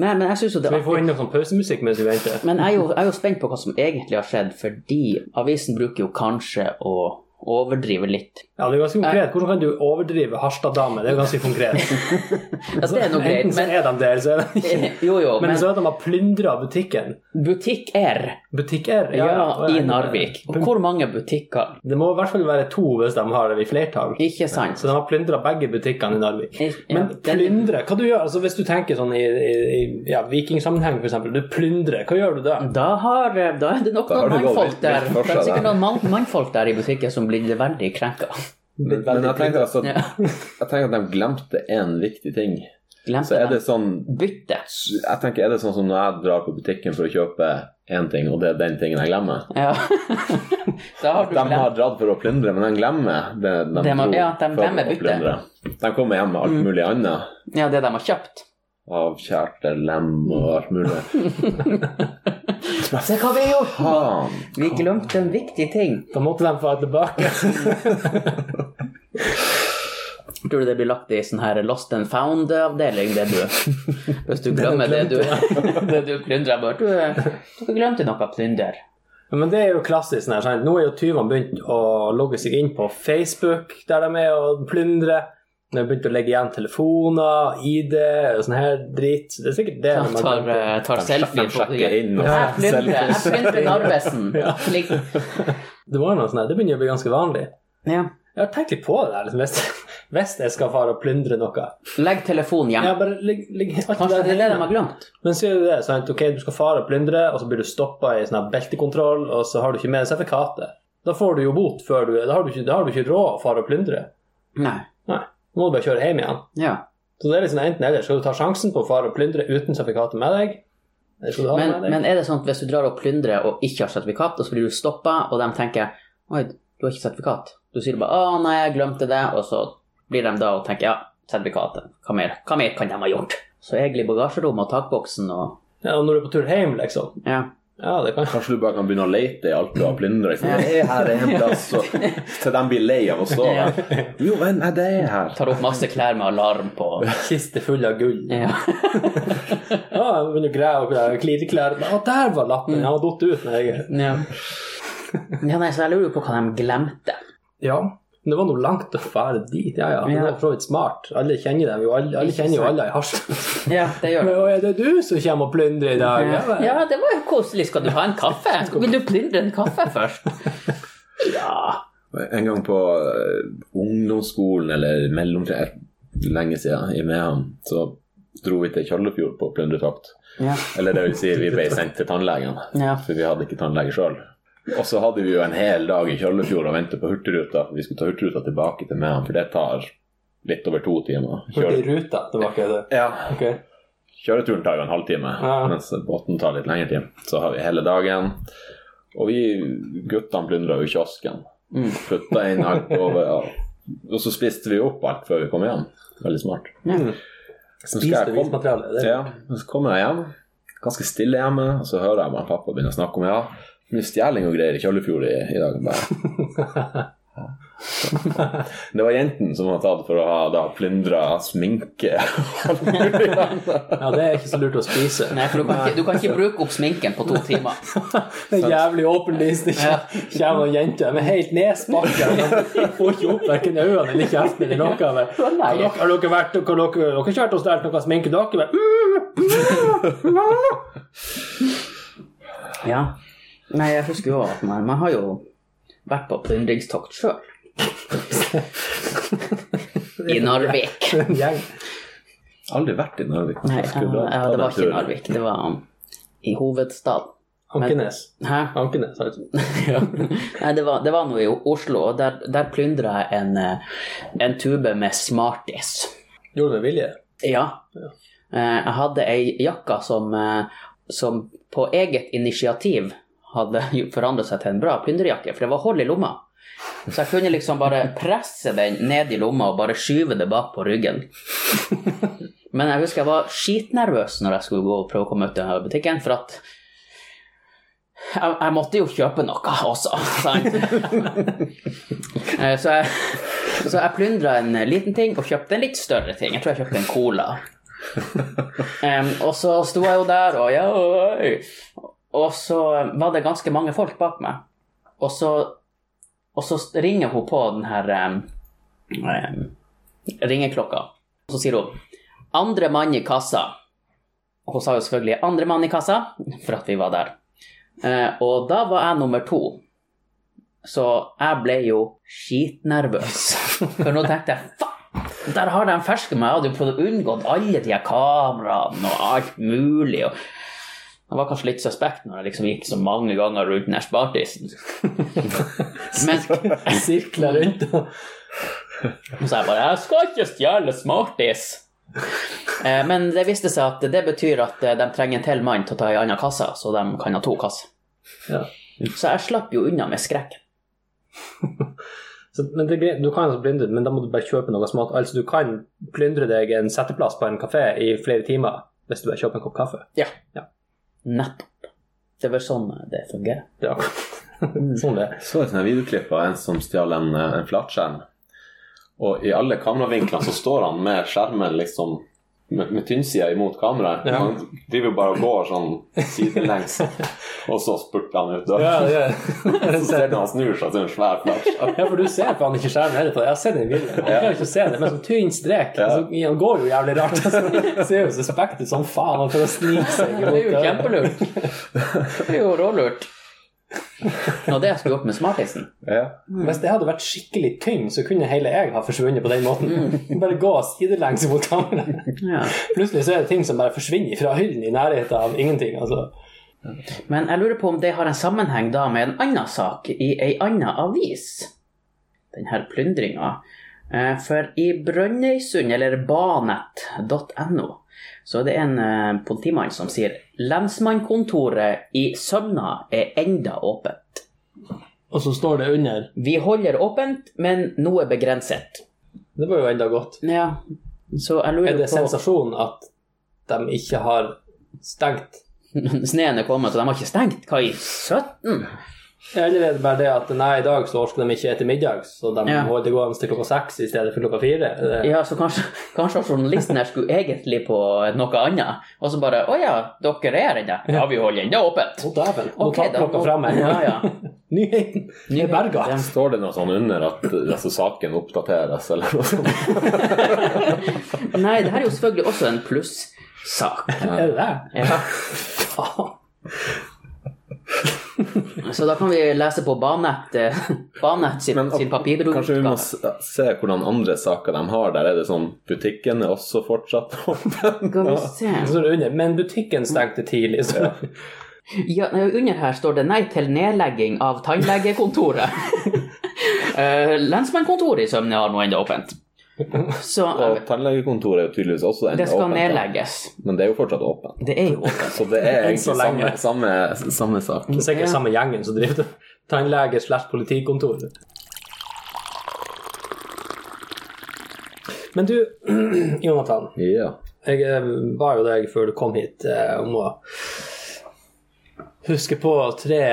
[SPEAKER 2] Nei, men jeg synes jo det
[SPEAKER 1] Så
[SPEAKER 2] er
[SPEAKER 1] vi får
[SPEAKER 2] artig.
[SPEAKER 1] inn noe sånn pausemusikk mens vi venter.
[SPEAKER 2] Men jeg er, jo, jeg er jo spent på hva som egentlig har skjedd, fordi avisen bruker jo kanskje å, overdrive litt.
[SPEAKER 1] Ja, det er ganske konkret. Hvordan kan du overdrive Harstad-dame? Det er jo ganske konkret.
[SPEAKER 2] Altså, det er noe greit,
[SPEAKER 1] Enten så
[SPEAKER 2] men
[SPEAKER 1] er de det, eller så er de ikke.
[SPEAKER 2] Jo, jo,
[SPEAKER 1] Men
[SPEAKER 2] men
[SPEAKER 1] så er sånn de har plyndra butikken.
[SPEAKER 2] butikk R,
[SPEAKER 1] Butikk R?
[SPEAKER 2] ja, i
[SPEAKER 1] ja.
[SPEAKER 2] Narvik. Og hvor mange butikker?
[SPEAKER 1] Det må i hvert fall være to hvis de har det i flertall.
[SPEAKER 2] Ikke sant?
[SPEAKER 1] Så de har plyndra begge butikkene i Narvik.
[SPEAKER 2] Ja,
[SPEAKER 1] Men
[SPEAKER 2] den-
[SPEAKER 1] plyndre, hva du gjør altså Hvis du tenker sånn i, i, i ja, vikingsammenheng, f.eks. Du plyndrer, hva gjør du da?
[SPEAKER 2] Da, har, eh, da er det nok
[SPEAKER 3] Da
[SPEAKER 2] noen
[SPEAKER 3] har det gått
[SPEAKER 2] mannfolk
[SPEAKER 3] litt-
[SPEAKER 2] der.
[SPEAKER 3] litt
[SPEAKER 2] Det
[SPEAKER 3] for
[SPEAKER 2] er
[SPEAKER 3] seg,
[SPEAKER 2] sikkert
[SPEAKER 3] da.
[SPEAKER 2] noen mann, mannfolk der i butikken som blir veldig krenka.
[SPEAKER 3] Men, men jeg tenker altså
[SPEAKER 2] Ja.
[SPEAKER 3] Jeg tenker at de glemte én viktig ting. Så
[SPEAKER 2] Glemte
[SPEAKER 3] er
[SPEAKER 2] det.
[SPEAKER 3] det sånn
[SPEAKER 2] Bytte.
[SPEAKER 3] Jeg tenker, Er det sånn som når jeg drar på butikken for å kjøpe én ting, og det er den tingen jeg glemmer?
[SPEAKER 2] Ja. da har du
[SPEAKER 3] De har
[SPEAKER 2] glemt.
[SPEAKER 3] dratt for å plyndre, men de glemmer det de,
[SPEAKER 2] De har-
[SPEAKER 3] dro
[SPEAKER 2] ja, de
[SPEAKER 3] for
[SPEAKER 2] glemmer Mm.
[SPEAKER 3] å
[SPEAKER 2] bytte.
[SPEAKER 3] plyndre. De kommer hjem med alt mulig annet.
[SPEAKER 2] Ja, det de har kjøpt.
[SPEAKER 3] Avkjærte lem og alt mulig.
[SPEAKER 2] Se hva vi har gjort!
[SPEAKER 3] Faen!
[SPEAKER 2] Vi glemte en viktig ting.
[SPEAKER 1] Da måtte de få tilbake.
[SPEAKER 2] Tror du det blir lagt i sånn her lost and found-avdeling, det du Hvis du glemmer det du, det du plyndrer? Bare, du, du glemte noe plynder.
[SPEAKER 1] Men det er jo klassisk. Sånn her, sant? Nå er jo tyvene begynt å logge seg inn på Facebook, der de er og plyndrer. De har begynt å legge igjen telefoner, ID og sånn her dritt. Det er sikkert det.
[SPEAKER 2] Han
[SPEAKER 1] de har
[SPEAKER 2] tar,
[SPEAKER 1] glemt.
[SPEAKER 2] eh, tar selfie.
[SPEAKER 3] de
[SPEAKER 2] på-
[SPEAKER 3] sjekker inn og-
[SPEAKER 2] Jeg plyndrer jeg plyndrer Narvesen. Slik.
[SPEAKER 1] det, var noe sånn her. det begynner å bli ganske vanlig.
[SPEAKER 2] Ja.
[SPEAKER 1] Jeg har tenkt litt på det. der, Liksom. Hvis, hvis jeg skal fare og plyndre noe
[SPEAKER 2] Legg telefonen hjem.
[SPEAKER 1] Ja, bare ligg ligg alt
[SPEAKER 2] Kanskje det er det de har glemt?
[SPEAKER 1] Men så er det det, sant? ok, du skal fare og plyndre, og så blir du stoppa i sånn her beltekontroll, og så har du ikke med deg sertifikatet. Da får du jo bot før du Da har du ikke, da har du ikke råd å fare og plyndre.
[SPEAKER 2] Nei.
[SPEAKER 1] Nei. Da må du bare kjøre hjem igjen.
[SPEAKER 2] Ja.
[SPEAKER 1] Så det er liksom enten eller. Skal du ta sjansen på å fare og plyndre uten sertifikatet med deg? Eller skal du ha det
[SPEAKER 2] Men,
[SPEAKER 1] med deg?
[SPEAKER 2] men er det sånn at hvis du drar og plyndrer og ikke har sertifikat, og så blir du stoppa, og de tenker Oi, du har ikke sertifikat. Du sier bare 'Å, nei, jeg glemte det', og så blir de da og tenker 'Ja, sertifikatet. Hva mer, hva mer kan de ha gjort?' Så egentlig i bagasjerommet og takboksen og
[SPEAKER 1] Ja, og når du er på tur hjem, liksom.
[SPEAKER 2] Ja.
[SPEAKER 1] Ja, det kan
[SPEAKER 3] Kanskje du bare kan begynne å lete i alt du har plyndra? Her er en plass, og til de blir lei av å stå
[SPEAKER 2] Ja.
[SPEAKER 3] der. Jo, men er det her?
[SPEAKER 2] Tar opp masse klær med alarm på.
[SPEAKER 1] Kiste full av gull.
[SPEAKER 2] Ja.
[SPEAKER 1] Ja, jeg begynner å greie opp der, klire klær. Å, der var lappen! Jeg har datt ut. når jeg-
[SPEAKER 2] ja. ja, nei, så jeg lurer på hva de glemte.
[SPEAKER 1] Ja. Men det var noe langt å fære dit. Ja, ja. Men
[SPEAKER 2] Ja.
[SPEAKER 1] det er for så vidt smart. Alle kjenner dem jo. Alle, alle
[SPEAKER 2] Ikke
[SPEAKER 1] kjenner jo
[SPEAKER 2] sant.
[SPEAKER 1] alle i Harstad.
[SPEAKER 2] Ja, det gjør
[SPEAKER 1] Men
[SPEAKER 2] de.
[SPEAKER 1] «Å, er det du som kommer og plyndrer i dag? Ja, vel.
[SPEAKER 2] Ja, det var jo koselig. Skal du ha en kaffe? Vil du plyndre en kaffe først? Ja.
[SPEAKER 3] En gang på eh, ungdomsskolen eller mellomtrinnet, lenge siden, i Mehamn, så dro vi til Kjøllefjord på plyndretokt.
[SPEAKER 2] Ja.
[SPEAKER 3] Eller det vil si, vi ble sendt til tannlegen,
[SPEAKER 2] Ja.
[SPEAKER 3] for vi hadde ikke tannlege sjøl. Og så hadde vi jo en hel dag i Kjøllefjord og ventet på Hurtigruta. Vi skulle ta Hurtigruta tilbake til Mehamn, for det tar litt over to timer.
[SPEAKER 1] For det
[SPEAKER 3] Kjøre-
[SPEAKER 1] er ruta tilbake. Det.
[SPEAKER 3] Ja,
[SPEAKER 1] Ok.
[SPEAKER 3] Kjøreturen tar jo en halvtime,
[SPEAKER 1] Ja.
[SPEAKER 3] mens båten tar litt lengre tid. Så har vi hele dagen. Og vi guttene plyndra jo kiosken.
[SPEAKER 2] Mm.
[SPEAKER 3] Putta inn alt over. Ja. Og så spiste vi opp alt før vi kom hjem. Veldig smart.
[SPEAKER 1] Mm.
[SPEAKER 3] Så
[SPEAKER 1] Spis
[SPEAKER 3] skal
[SPEAKER 1] det
[SPEAKER 3] jeg komme,
[SPEAKER 1] vismaterialet. Det er-
[SPEAKER 3] ja, men så kommer jeg hjem, ganske stille hjemme, og så hører jeg bare pappa begynne å snakke om ja, mye stjeling og greier i Kjøllefjord i, i dag. Jeg Bare. Det var jenten som var tatt for å ha da plyndra sminke.
[SPEAKER 1] ja, det er ikke så lurt å spise.
[SPEAKER 2] Nei, for du kan, ikke, du kan ikke bruke opp sminken på to timer.
[SPEAKER 1] Det er jævlig åpenlyst. Det
[SPEAKER 2] Ja.
[SPEAKER 1] kommer noen jenter med helt nesbakke. De Får ikke opp verken øynene eller kjeften eller noe. Men,
[SPEAKER 2] Å, nei.
[SPEAKER 1] har, dere, har dere vært og har dere, dere kjørt og stjålet noe sminke? Dere bare mm.
[SPEAKER 2] Ja. Nei, jeg husker jo at man, man har jo vært på plyndringstokt sjøl. I Narvik.
[SPEAKER 1] en gjeng.
[SPEAKER 3] Aldri vært i Narvik.
[SPEAKER 2] Nei,
[SPEAKER 3] Jeg skulle
[SPEAKER 2] eh,
[SPEAKER 3] dra-
[SPEAKER 2] ja,
[SPEAKER 3] ta
[SPEAKER 2] det var ikke i
[SPEAKER 3] den turen.
[SPEAKER 2] Narvik. Det var um, i hovedstaden.
[SPEAKER 1] Ankenes.
[SPEAKER 2] Hæ?
[SPEAKER 1] Ankenes, altså.
[SPEAKER 2] Nei, det var, det var noe i Oslo, og der, der plyndra jeg en, eh, en tube med Smarties.
[SPEAKER 1] Gjorde det med vilje.
[SPEAKER 2] Ja. Eh, Jeg hadde ei jakka som, eh, som på eget initiativ hadde jo forandret seg til en bra plyndrejakke, for det var hold i lomma. Så jeg kunne liksom bare presse den ned i lomma og bare skyve det bak på ryggen. Men jeg husker jeg var skitnervøs når jeg skulle gå og prøve å komme ut av butikken, for at jeg, jeg måtte jo kjøpe noe også, sant? Eh, så jeg, så jeg plyndra en liten ting og kjøpte en litt større ting. Jeg tror jeg kjøpte en cola. Em, og så sto jeg jo der, og ja oi. Og så var det ganske mange folk bak meg. Og så Og så ringer hun på den her eh, eh, ringeklokka. Og så sier hun 'andre mann i kassa'. Og Hun sa jo selvfølgelig 'andre mann i kassa', for at vi var der. Eh, og da var jeg nummer to. Så jeg ble jo skitnervøs. For nå tenkte jeg faen, der har de fersken meg. Jeg hadde jo prøvd å unngått alle de her kameraene og alt mulig. Og jeg var kanskje litt suspekt når jeg liksom gikk så mange ganger rundt den her spartisen. Men
[SPEAKER 1] Sirkler rundt og
[SPEAKER 2] så jeg bare 'Jeg skal ikke stjele Smarties'. Eh, Men det viste seg at det betyr at eh, de trenger en til mann til å ta ei anna kasse, så de kan ha to kasser.
[SPEAKER 1] ja.
[SPEAKER 2] Så jeg slapp jo unna med skrekk.
[SPEAKER 1] så, men det, er greit, Du kan altså plyndre, men da må du bare kjøpe noe smått. Altså, du kan plyndre deg en setteplass på en kafé i flere timer hvis du bare kjøper en kopp kaffe.
[SPEAKER 2] Ja.
[SPEAKER 1] Ja.
[SPEAKER 2] Nettopp. Det er vel sånn det fungerer.
[SPEAKER 1] Det er akkurat sånn det er.
[SPEAKER 3] Så et sånt videoklipp av en som stjal en, eh, en flatskjerm. Og i alle kameravinklene så står han med skjermen liksom med, med tynnsida imot kameraet.
[SPEAKER 1] Ja.
[SPEAKER 3] Han driver jo bare og går sånn sidelengs, og så spurter han ut døra. Så ser du han snur seg til en svær flatskjerm.
[SPEAKER 1] Ja, for du ser faen ikke skjermen heller på det. Jeg har sett den i videoen. Jeg klarer ikke å se det, men sånn tynn strek.
[SPEAKER 3] Ja.
[SPEAKER 1] Altså, han går jo jævlig rart. Altså. Det Ser jo suspekt ut som faen. Han prøver å snike seg
[SPEAKER 2] Det er jo
[SPEAKER 1] døra.
[SPEAKER 2] kjempelurt. Det er jo rålurt. Nå, det jeg skulle gjort med smartisen.
[SPEAKER 3] Ja.
[SPEAKER 1] Mm. Hvis det hadde vært skikkelig tynn, så kunne hele jeg ha forsvunnet på den måten. Bare gå sidelengs mot kameraet.
[SPEAKER 2] Ja.
[SPEAKER 1] Plutselig så er det ting som bare forsvinner fra hyllen i nærheten av ingenting. Altså.
[SPEAKER 2] Men jeg lurer på om det har en sammenheng da med en annen sak i ei anna avis. Denne plyndringa. Eh, For i Brønnøysund, eller banet.no, så er det en eh, politimann som sier lensmannkontoret i Sømna er enda åpent.
[SPEAKER 1] Og så står det under.
[SPEAKER 2] Vi holder åpent, men noe begrenset.
[SPEAKER 1] Det var jo enda godt.
[SPEAKER 2] Ja, så jeg lurer
[SPEAKER 1] Er det
[SPEAKER 2] på
[SPEAKER 1] sensasjon at de ikke har stengt?
[SPEAKER 2] Sneen er kommet, og de har ikke stengt. Hva i 17?
[SPEAKER 1] Eller er det bare det at nei, i dag så orker de ikke etter middag, så de
[SPEAKER 2] Ja.
[SPEAKER 1] holder gående til klokka seks i stedet for klokka fire? Er det-
[SPEAKER 2] Ja, så kanskje, kanskje journalisten her skulle egentlig på noe annet, og så bare Å ja, dere er ennå? Ja, vi holder ennå åpent.
[SPEAKER 1] Å, dæven. Nå
[SPEAKER 2] Ok,
[SPEAKER 1] tar
[SPEAKER 2] da.
[SPEAKER 1] klokka fram her.
[SPEAKER 2] Ja, ja.
[SPEAKER 1] Nyheten er berga.
[SPEAKER 2] Ja.
[SPEAKER 3] Står det noe sånn under at eh, altså, saken oppdateres, eller noe sånt?
[SPEAKER 2] Nei, det her er jo selvfølgelig også en plussak.
[SPEAKER 1] Er det det?
[SPEAKER 2] Ja.
[SPEAKER 1] Faen.
[SPEAKER 2] Så da kan vi lese på Banett, eh, Banett sin,
[SPEAKER 3] Men
[SPEAKER 2] sin papirutgave.
[SPEAKER 3] kanskje vi må s- se hvordan andre saker de har der. Er det sånn butikken er også fortsatt åpen?
[SPEAKER 2] Skal vi se
[SPEAKER 1] Så står det under. Men butikken stengte tidlig, så
[SPEAKER 2] Ja, nei, under her står det 'nei til nedlegging av tannlegekontoret'. Eh, Lensmannkontoret i Sømne har nå ennå åpent. Så
[SPEAKER 3] Og
[SPEAKER 2] eh,
[SPEAKER 3] tannlegekontoret er jo tydeligvis også enda
[SPEAKER 2] det skal
[SPEAKER 3] åpent, da.
[SPEAKER 2] nedlegges.
[SPEAKER 3] Men det er jo fortsatt åpent.
[SPEAKER 2] Det er jo åpent.
[SPEAKER 3] Så det er
[SPEAKER 1] Enn så
[SPEAKER 3] egentlig samme,
[SPEAKER 1] lenge.
[SPEAKER 3] samme, samme sak.
[SPEAKER 1] det er sikkert
[SPEAKER 2] Ja.
[SPEAKER 1] samme gjengen som driver det. Tannlege slash politikontor. Men du, Jonathan.
[SPEAKER 3] Ja.
[SPEAKER 1] Jeg eh, ba jo deg før du kom hit eh, om å huske på tre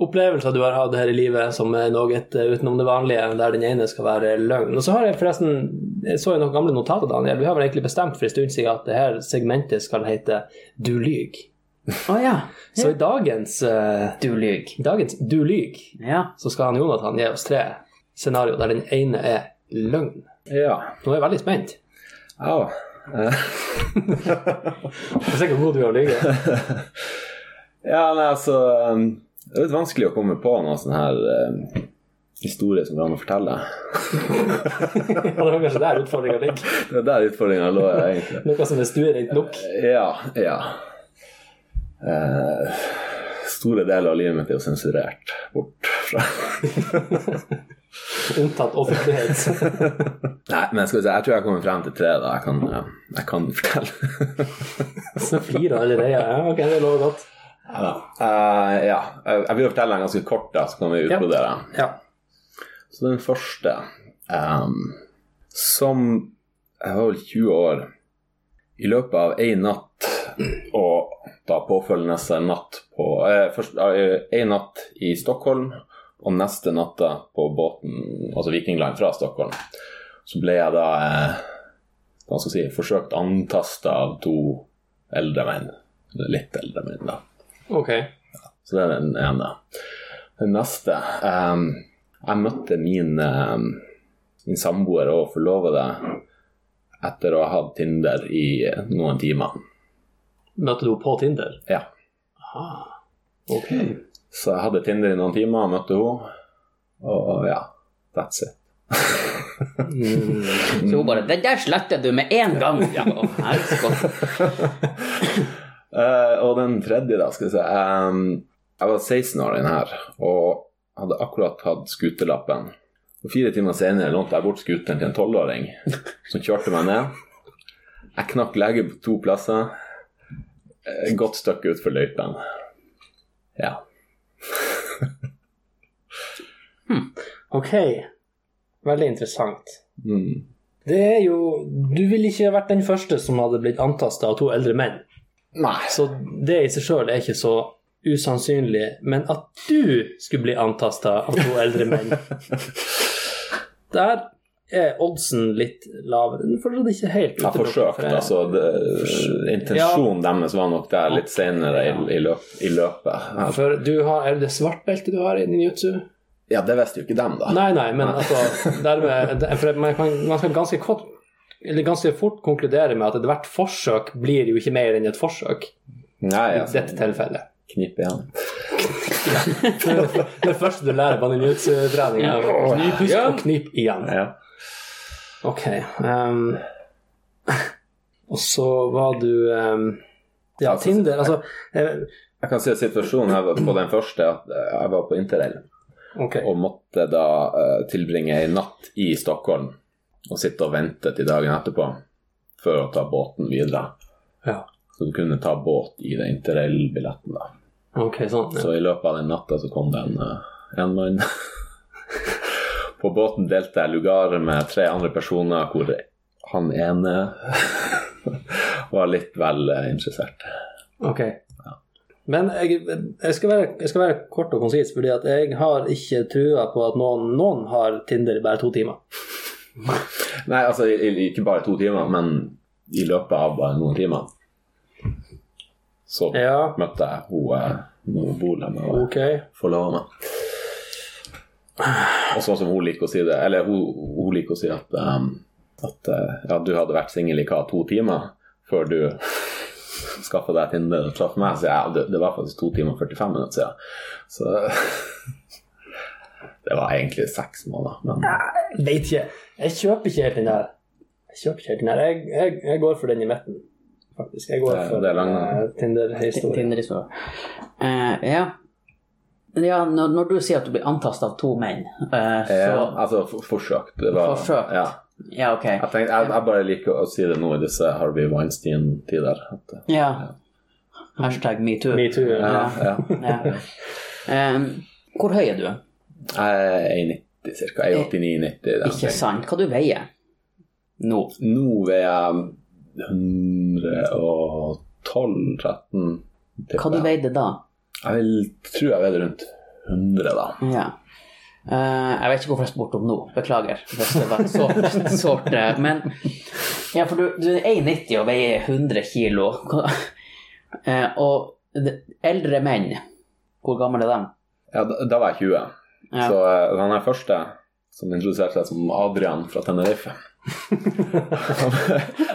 [SPEAKER 1] opplevelser du har hatt her i livet som er noe eh, utenom det vanlige, der den ene skal være løgn. Og så har jeg forresten Jeg så jo noen gamle notater, Daniel. Vi har vel egentlig bestemt for en stund siden at det her segmentet skal hete Du lyg.
[SPEAKER 2] Å ja.
[SPEAKER 1] Så i dagens, eh,
[SPEAKER 2] Du lyver.
[SPEAKER 1] i dagens Du lyg,
[SPEAKER 2] Ja.
[SPEAKER 1] så skal han Jonathan gi oss tre scenarioer der den ene er løgn.
[SPEAKER 3] ja.
[SPEAKER 1] Nå er jeg veldig spent.
[SPEAKER 3] Au.
[SPEAKER 1] Jeg ser hvor god du er til å lyge.
[SPEAKER 3] Ja, nei, altså um, Det er litt vanskelig å komme på noen sånn her um, historie som går an å fortelle.
[SPEAKER 1] Ja, det var kanskje der utfordringa ligger.
[SPEAKER 3] Det er der utfordringa lå, egentlig.
[SPEAKER 1] Noe som er stuerent nok.
[SPEAKER 3] Ja, ja. Eh, store deler av livet mitt er jo sensurert bort fra
[SPEAKER 1] Unntatt offentlighet.
[SPEAKER 3] Nei, men skal vi se, jeg tror jeg kommer frem til tre, da. Jeg kan, ja, jeg kan fortelle.
[SPEAKER 1] Så fire allerede. Ja, ok, det lover godt.
[SPEAKER 3] Ja. Eh, ja. Jeg jeg vil fortelle den ganske kort, da, så kan vi
[SPEAKER 1] Ja.
[SPEAKER 3] utbrodere den.
[SPEAKER 1] Ja.
[SPEAKER 3] Så den første ehm, Som Jeg var vel 20 år. I løpet av én natt og da påfølgende natt på eh, først, eh, En natt i Stockholm og neste natta på båten, altså Viking Line fra Stockholm, så ble jeg da eh, hva skal jeg si, forsøkt antasta av to eldre menn. Eller litt eldre menn, da.
[SPEAKER 1] Ok.
[SPEAKER 3] Så det er den ene. Den neste ehm, Jeg møtte min, eh, min samboer og forlovede etter å ha hatt Tinder i noen timer.
[SPEAKER 1] Møtte du på Tinder?
[SPEAKER 3] Ja.
[SPEAKER 1] Aha. Ok.
[SPEAKER 3] Så jeg hadde Tinder i noen timer, møtte hun, og ja, that's it.
[SPEAKER 1] Mm.
[SPEAKER 2] Så hun bare 'Det der sletter du med en gang'. Ja, å, herregud.
[SPEAKER 3] Eh, og den tredje, da, skal vi se eh, Jeg var 16 år den her, og hadde akkurat hatt scooterlappen. Og fire timer senere lånte jeg bort scooteren til en tolvåring som kjørte meg ned. Jeg knakk lege på to plasser. Eh, Godt stykke utfor løypen. Ja.
[SPEAKER 1] Ok. Veldig interessant.
[SPEAKER 3] Mm.
[SPEAKER 1] Det er jo Du ville ikke vært den første som hadde blitt antasta av to eldre menn.
[SPEAKER 3] Nei.
[SPEAKER 1] Så det i seg sjøl er ikke så usannsynlig. Men at du skulle bli antasta av to eldre menn Der er oddsen litt lavere. Du føler det ikke helt
[SPEAKER 3] Jeg forsøkte, altså. Det, intensjonen deres var nok der litt senere i, i, løp, i løpet.
[SPEAKER 1] For du har, er det svartbeltet du har i ninjutsu?
[SPEAKER 3] Ja, det visste jo ikke dem, da.
[SPEAKER 1] Nei, nei, men altså dermed, det- for man, kan, man skal ganske, kort, eller ganske fort konkludere med at ethvert forsøk blir jo ikke mer enn et forsøk
[SPEAKER 3] Nei,
[SPEAKER 1] i
[SPEAKER 3] altså,
[SPEAKER 1] dette tilfellet.
[SPEAKER 3] knip igjen.
[SPEAKER 1] Det er det første du lærer på ninjutsu-trening. er å Knip husk og knip igjen.
[SPEAKER 3] Ja.
[SPEAKER 1] Ok. ehm, og så var du ehm, Ja, Tinder, altså eh,
[SPEAKER 3] Jeg kan si at situasjonen her var på den første at eh, jeg var på interrail
[SPEAKER 1] Ok.
[SPEAKER 3] og måtte da eh, tilbringe ei natt i Stockholm og sitte og vente til dagen etterpå for å ta båten videre.
[SPEAKER 1] Ja.
[SPEAKER 3] Så du kunne ta båt i den interrail-billetten, da.
[SPEAKER 1] ok, sånn.
[SPEAKER 3] Så i løpet av den natta så kom det en, eh, en mann. på båten delte jeg lugar med tre andre personer hvor han ene var litt vel eh, interessert.
[SPEAKER 1] Ok. Men jeg, jeg, skal være, jeg skal være kort og konsis, fordi at jeg har ikke trua på at noen, noen har Tinder i bare to timer.
[SPEAKER 3] Nei, altså i- i- ikke bare to timer, men i løpet av bare noen timer. Så
[SPEAKER 1] Ja,
[SPEAKER 3] møtte jeg hun eh, hun bor der med og
[SPEAKER 1] ok.
[SPEAKER 3] forlova meg. Og sånn som hun liker å si det, eller hun, hun liker å si at, ehm, at eh, ja, du hadde vært singel i hva, to timer før du skaffa deg Tinder og traff meg, så jeg, det, det var faktisk to timer og 45 minutter siden. Så det var egentlig seks måneder, men
[SPEAKER 1] Veit ikke. Jeg kjøper ikke helt den her. Jeg kjøper ikke helt den her. Jeg, jeg, jeg går for den i midten, faktisk. Jeg går
[SPEAKER 3] Det er-
[SPEAKER 1] for
[SPEAKER 3] det er lang,
[SPEAKER 1] eh, Tinder-historien.
[SPEAKER 2] Tinder-historie. Eh, ja. ja når, når du sier at du blir antastet av to menn, eh,
[SPEAKER 3] Ja,
[SPEAKER 2] så
[SPEAKER 3] altså for, forsøkt. Det var,
[SPEAKER 2] Forsøkt.
[SPEAKER 3] Ja.
[SPEAKER 2] Ja, ok.
[SPEAKER 3] Jeg, tenkte, jeg, jeg bare liker å si det nå i disse Harvey Weinstein-tider. at, eh,
[SPEAKER 2] Ja. Hashtag metoo.
[SPEAKER 1] Metoo.
[SPEAKER 3] Ja,
[SPEAKER 1] Ja.
[SPEAKER 3] ja.
[SPEAKER 2] Ja. Eh, hvor høy er du?
[SPEAKER 3] Jeg er 1,90 ca. 89-90.
[SPEAKER 2] Ikke sant? Hva du veier nå?
[SPEAKER 3] Nå veier jeg 112-13.
[SPEAKER 2] Hva du veide da?
[SPEAKER 3] Jeg vil, tror jeg veide rundt 100, da.
[SPEAKER 2] Ja. Eh, jeg vet ikke hvorfor jeg spurte om nå. Beklager. Hvis det var sårt. sårt eh, men ja, for du, du er 1,90 og veier 100 kilo. Eh, og det- eldre menn, hvor gammel er de?
[SPEAKER 3] Ja, da, da var jeg 20.
[SPEAKER 2] Ja.
[SPEAKER 3] Så eh, han er første som introduserte seg som Adrian fra Tenerife. han,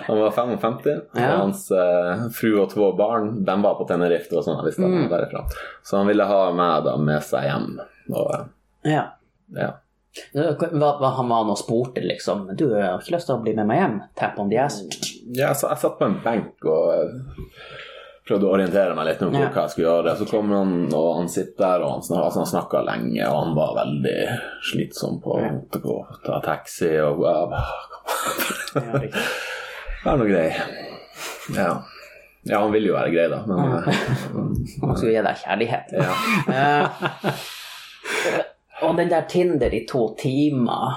[SPEAKER 3] han var 55, og
[SPEAKER 2] Ja.
[SPEAKER 3] hans eh, fru og to barn de var på Tenerife. Det var sånn jeg visste
[SPEAKER 2] Mm.
[SPEAKER 3] han var derifra. Så han ville ha meg da med seg hjem. Og, eh,
[SPEAKER 2] Ja.
[SPEAKER 3] ja.
[SPEAKER 2] Eh, Hva, hva han var han og spurte, liksom? Du jeg har ikke lyst til å bli med meg hjem? Tap on the ass.
[SPEAKER 3] Ja, så jeg satt på en benk og eh, prøvde å orientere meg litt om
[SPEAKER 2] Ja.
[SPEAKER 3] hva jeg skulle gjøre. Så kom han, og han sitter der, og han, snak, altså, han snakka lenge, og han var veldig slitsom på å måtte gå og ta taxi. og jeg bare,
[SPEAKER 2] Ja, riktig.
[SPEAKER 3] Vær nå grei. Ja. ja, han vil jo være grei, da, men eh,
[SPEAKER 2] Han skulle gi deg kjærlighet.
[SPEAKER 3] ja.
[SPEAKER 2] Eh, og den der Tinder i to timer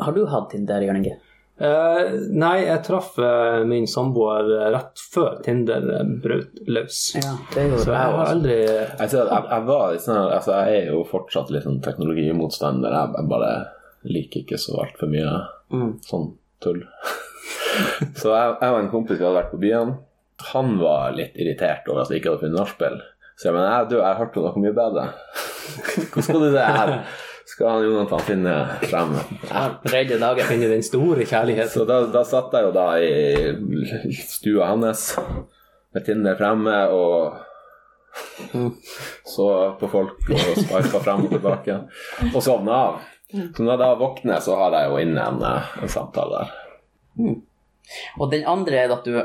[SPEAKER 2] Har du hatt Tinder, Jørn Inge?
[SPEAKER 1] Eh, nei, jeg traff eh, min samboer eh, rett før Tinder eh, brøt løs.
[SPEAKER 2] Ja, det gjorde
[SPEAKER 1] Så jeg har
[SPEAKER 2] også.
[SPEAKER 1] aldri
[SPEAKER 3] Jeg, ser at jeg, jeg, var litt sånn, her- altså, jeg er jo fortsatt litt sånn teknologimotstander. Jeg, jeg bare liker ikke så altfor mye
[SPEAKER 2] Mm.
[SPEAKER 3] sånn tull. så jeg, jeg og en kompis vi hadde vært på byen. Han var litt irritert over at vi ikke hadde funnet nachspiel. Så jeg mener, jeg, du, jeg hørte noe mye bedre. Hvordan skal du det her? skal han Jonathan finne frem.
[SPEAKER 2] Ja, Tredje dagen.
[SPEAKER 1] Inni den store kjærligheten.
[SPEAKER 3] Så da, da satt jeg jo da i stua hans med Tinder fremme og så på folk og sparka frem og tilbake. Og sovna av. Så når jeg da våkner, så har jeg jo inne en, eh, en samtale der.
[SPEAKER 2] Og den andre er at du,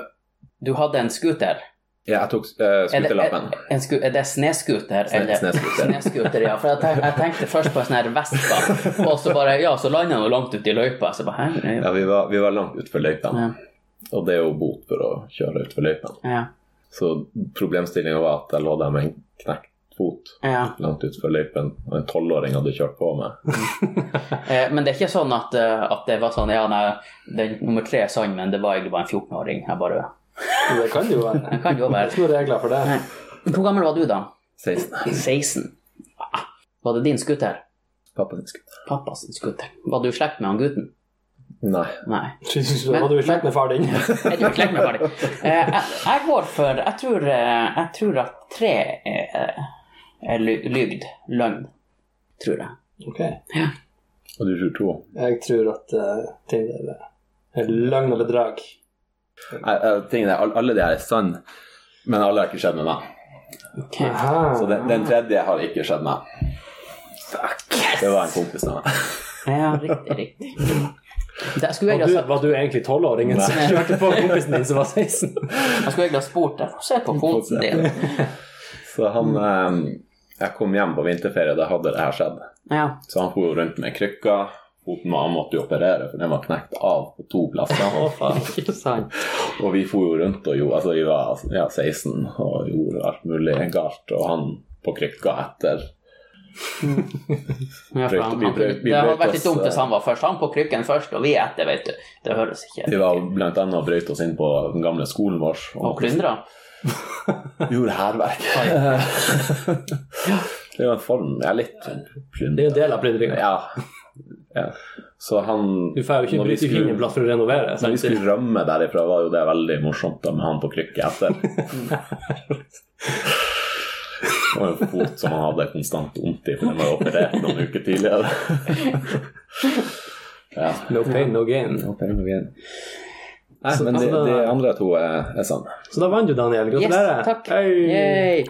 [SPEAKER 2] du hadde en scooter.
[SPEAKER 3] Ja, jeg tok uh,
[SPEAKER 2] Er det,
[SPEAKER 3] skuterlappen.
[SPEAKER 2] er- en sku, er det snescooter?
[SPEAKER 3] Sne-
[SPEAKER 2] eller-
[SPEAKER 3] snescooter.
[SPEAKER 2] Snescooter, ja. For jeg, tenk, jeg tenkte først på en sånn her Vespa, og så bare Ja, så landa han jo langt ute i løypa. Så bare, Hæ?
[SPEAKER 3] Ja, vi var, vi var langt utfor løypa,
[SPEAKER 2] eh, Ja.
[SPEAKER 3] og det er jo bot for å kjøre utfor løypa.
[SPEAKER 2] Ja.
[SPEAKER 3] Så problemstillinga var at jeg lå der med en knekt fot
[SPEAKER 2] ja.
[SPEAKER 3] langt utfor løypen, og en tolvåring hadde kjørt på meg.
[SPEAKER 2] Eh, Men det er ikke sånn at, eh, at det var sånn Ja, nei, den nummer tre er sann, men det var egentlig bare en 14-åring. Jeg bare
[SPEAKER 1] Men Det kan jo være.
[SPEAKER 2] Jeg kan
[SPEAKER 1] Det
[SPEAKER 2] jo
[SPEAKER 1] er
[SPEAKER 2] være
[SPEAKER 1] ikke noen regler for det.
[SPEAKER 2] Nei. Hvor gammel var du da?
[SPEAKER 3] 16.
[SPEAKER 2] 16. Ah, Var det din scooter?
[SPEAKER 3] Pappa sin skutt.
[SPEAKER 2] Pappas scooter. Var du i slekt med han gutten?
[SPEAKER 3] Nei.
[SPEAKER 2] Nei.
[SPEAKER 1] Jesus,
[SPEAKER 2] Men-
[SPEAKER 1] hadde du slekt med far din?
[SPEAKER 2] Jeg tror ikke meg ferdig. Eh, jeg, jeg går for Jeg tror, eh, jeg tror at tre er, eh, er ly- lygd. Løgn. Tror jeg.
[SPEAKER 1] Ok.
[SPEAKER 3] Og du tror to?
[SPEAKER 1] Jeg tror at eh, Tinder er løgn og bedrag.
[SPEAKER 3] Jeg, jeg, tingen er, all- alle de her er sann, men alle har ikke skjedd med meg.
[SPEAKER 2] Ok.
[SPEAKER 3] Så den, den tredje har ikke skjedd meg. Det var en kompis av meg.
[SPEAKER 2] Ja, riktig, riktig. Det, jeg, skulle
[SPEAKER 1] Var du,
[SPEAKER 2] egentlig, ha sagt-
[SPEAKER 1] var du egentlig tolvåringen som kjørte på kompisen din som var 16?
[SPEAKER 2] jeg skulle egentlig ha spurt deg. Se på foten din.
[SPEAKER 3] Så han eh, Jeg kom hjem på vinterferie, da hadde det her skjedd.
[SPEAKER 2] Ja.
[SPEAKER 3] Så han for jo rundt med krykker. Foten var, han måtte jo operere, for den var knekt av på to plasser.
[SPEAKER 2] Ikke sant.
[SPEAKER 3] Og vi for jo rundt og jo, altså vi var ja, 16 og gjorde alt mulig galt. Og han på krykka etter.
[SPEAKER 2] Ja, for han, han,
[SPEAKER 3] Vi brøt- vi
[SPEAKER 2] det hadde vært
[SPEAKER 3] brøt oss,
[SPEAKER 2] litt dumt hvis
[SPEAKER 3] eh,
[SPEAKER 2] han var først. Han på krykken først, og vi etter, vet du. Det høres ikke
[SPEAKER 3] Vi var blant annet og brøt oss inn på den gamle skolen vår.
[SPEAKER 2] Og plyndra.
[SPEAKER 3] gjorde hærverk. Det er jo en form Jeg er litt
[SPEAKER 1] Det er jo
[SPEAKER 3] plyndret.
[SPEAKER 1] en del av plyndringa.
[SPEAKER 3] Ja. ja. Så han
[SPEAKER 1] Du får jo ikke
[SPEAKER 3] når vi
[SPEAKER 1] bruke
[SPEAKER 3] skulle-
[SPEAKER 1] fingerplass for å renovere.
[SPEAKER 3] Når vi
[SPEAKER 1] Sant?
[SPEAKER 3] skulle rømme derifra, var jo det veldig morsomt da, med han på krykke etter. Det var jo en fot som han hadde konstant vondt i, for den var jo operert noen uker tidligere. ja.
[SPEAKER 1] No pain, no gain.
[SPEAKER 3] Nei,
[SPEAKER 1] Så-
[SPEAKER 3] men de,
[SPEAKER 1] altså,
[SPEAKER 3] de andre to er, er sånn.
[SPEAKER 1] Så da vant du, Daniel. Gratulerer.
[SPEAKER 2] Yes, takk.
[SPEAKER 1] Hei.
[SPEAKER 2] Yay.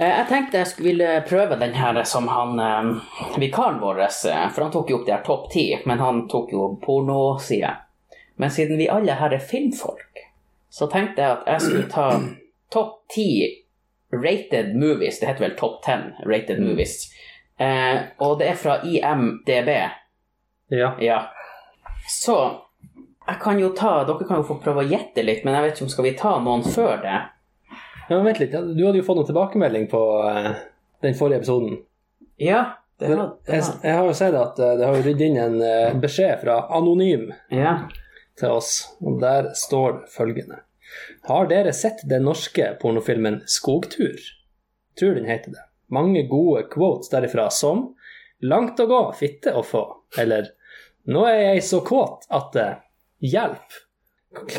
[SPEAKER 2] Eh, Jeg tenkte jeg skulle ville prøve den her som han eh, vikaren vår eh, For han tok jo opp det her topp ti, men han tok jo pornoside. Men siden vi alle her er filmfolk, så tenkte jeg at jeg skulle ta topp ti rated movies. Det heter vel topp ten rated movies. Eh, og det er fra IMDb.
[SPEAKER 1] Ja.
[SPEAKER 2] Ja. Så jeg kan jo ta Dere kan jo få prøve å gjette litt, men jeg vet ikke om skal vi ta noen før det?
[SPEAKER 1] ja, men vent litt. ja, Du hadde jo fått noen tilbakemelding på eh, den forrige episoden.
[SPEAKER 2] Ja. Det
[SPEAKER 1] Men
[SPEAKER 2] var, det
[SPEAKER 1] jeg,
[SPEAKER 2] var.
[SPEAKER 1] jeg har jo sett at eh, det har jo rydd inn en eh, beskjed fra Anonym
[SPEAKER 2] Ja.
[SPEAKER 1] til oss, og der står det følgende. Har dere sett den norske pornofilmen Skogtur? Tror den heter det. Mange gode quotes derifra som Langt å gå, fitte å få. Eller Nå er jeg så kåt at det Hjelp!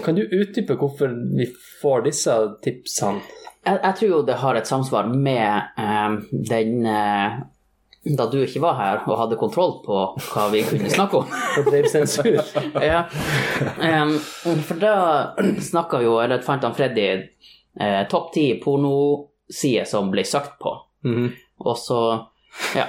[SPEAKER 1] Kan du utdype hvorfor vi får disse tipsene?
[SPEAKER 2] Jeg, jeg tror jo det har et samsvar med eh, den eh, da du ikke var her og hadde kontroll på hva vi kunne snakke om.
[SPEAKER 1] Og drev sensur?
[SPEAKER 2] ja. Em, for da snakka jo, eller fant han Freddy, eh, topp ti pornosider som ble søkt på.
[SPEAKER 1] Mhm.
[SPEAKER 2] Og så Ja.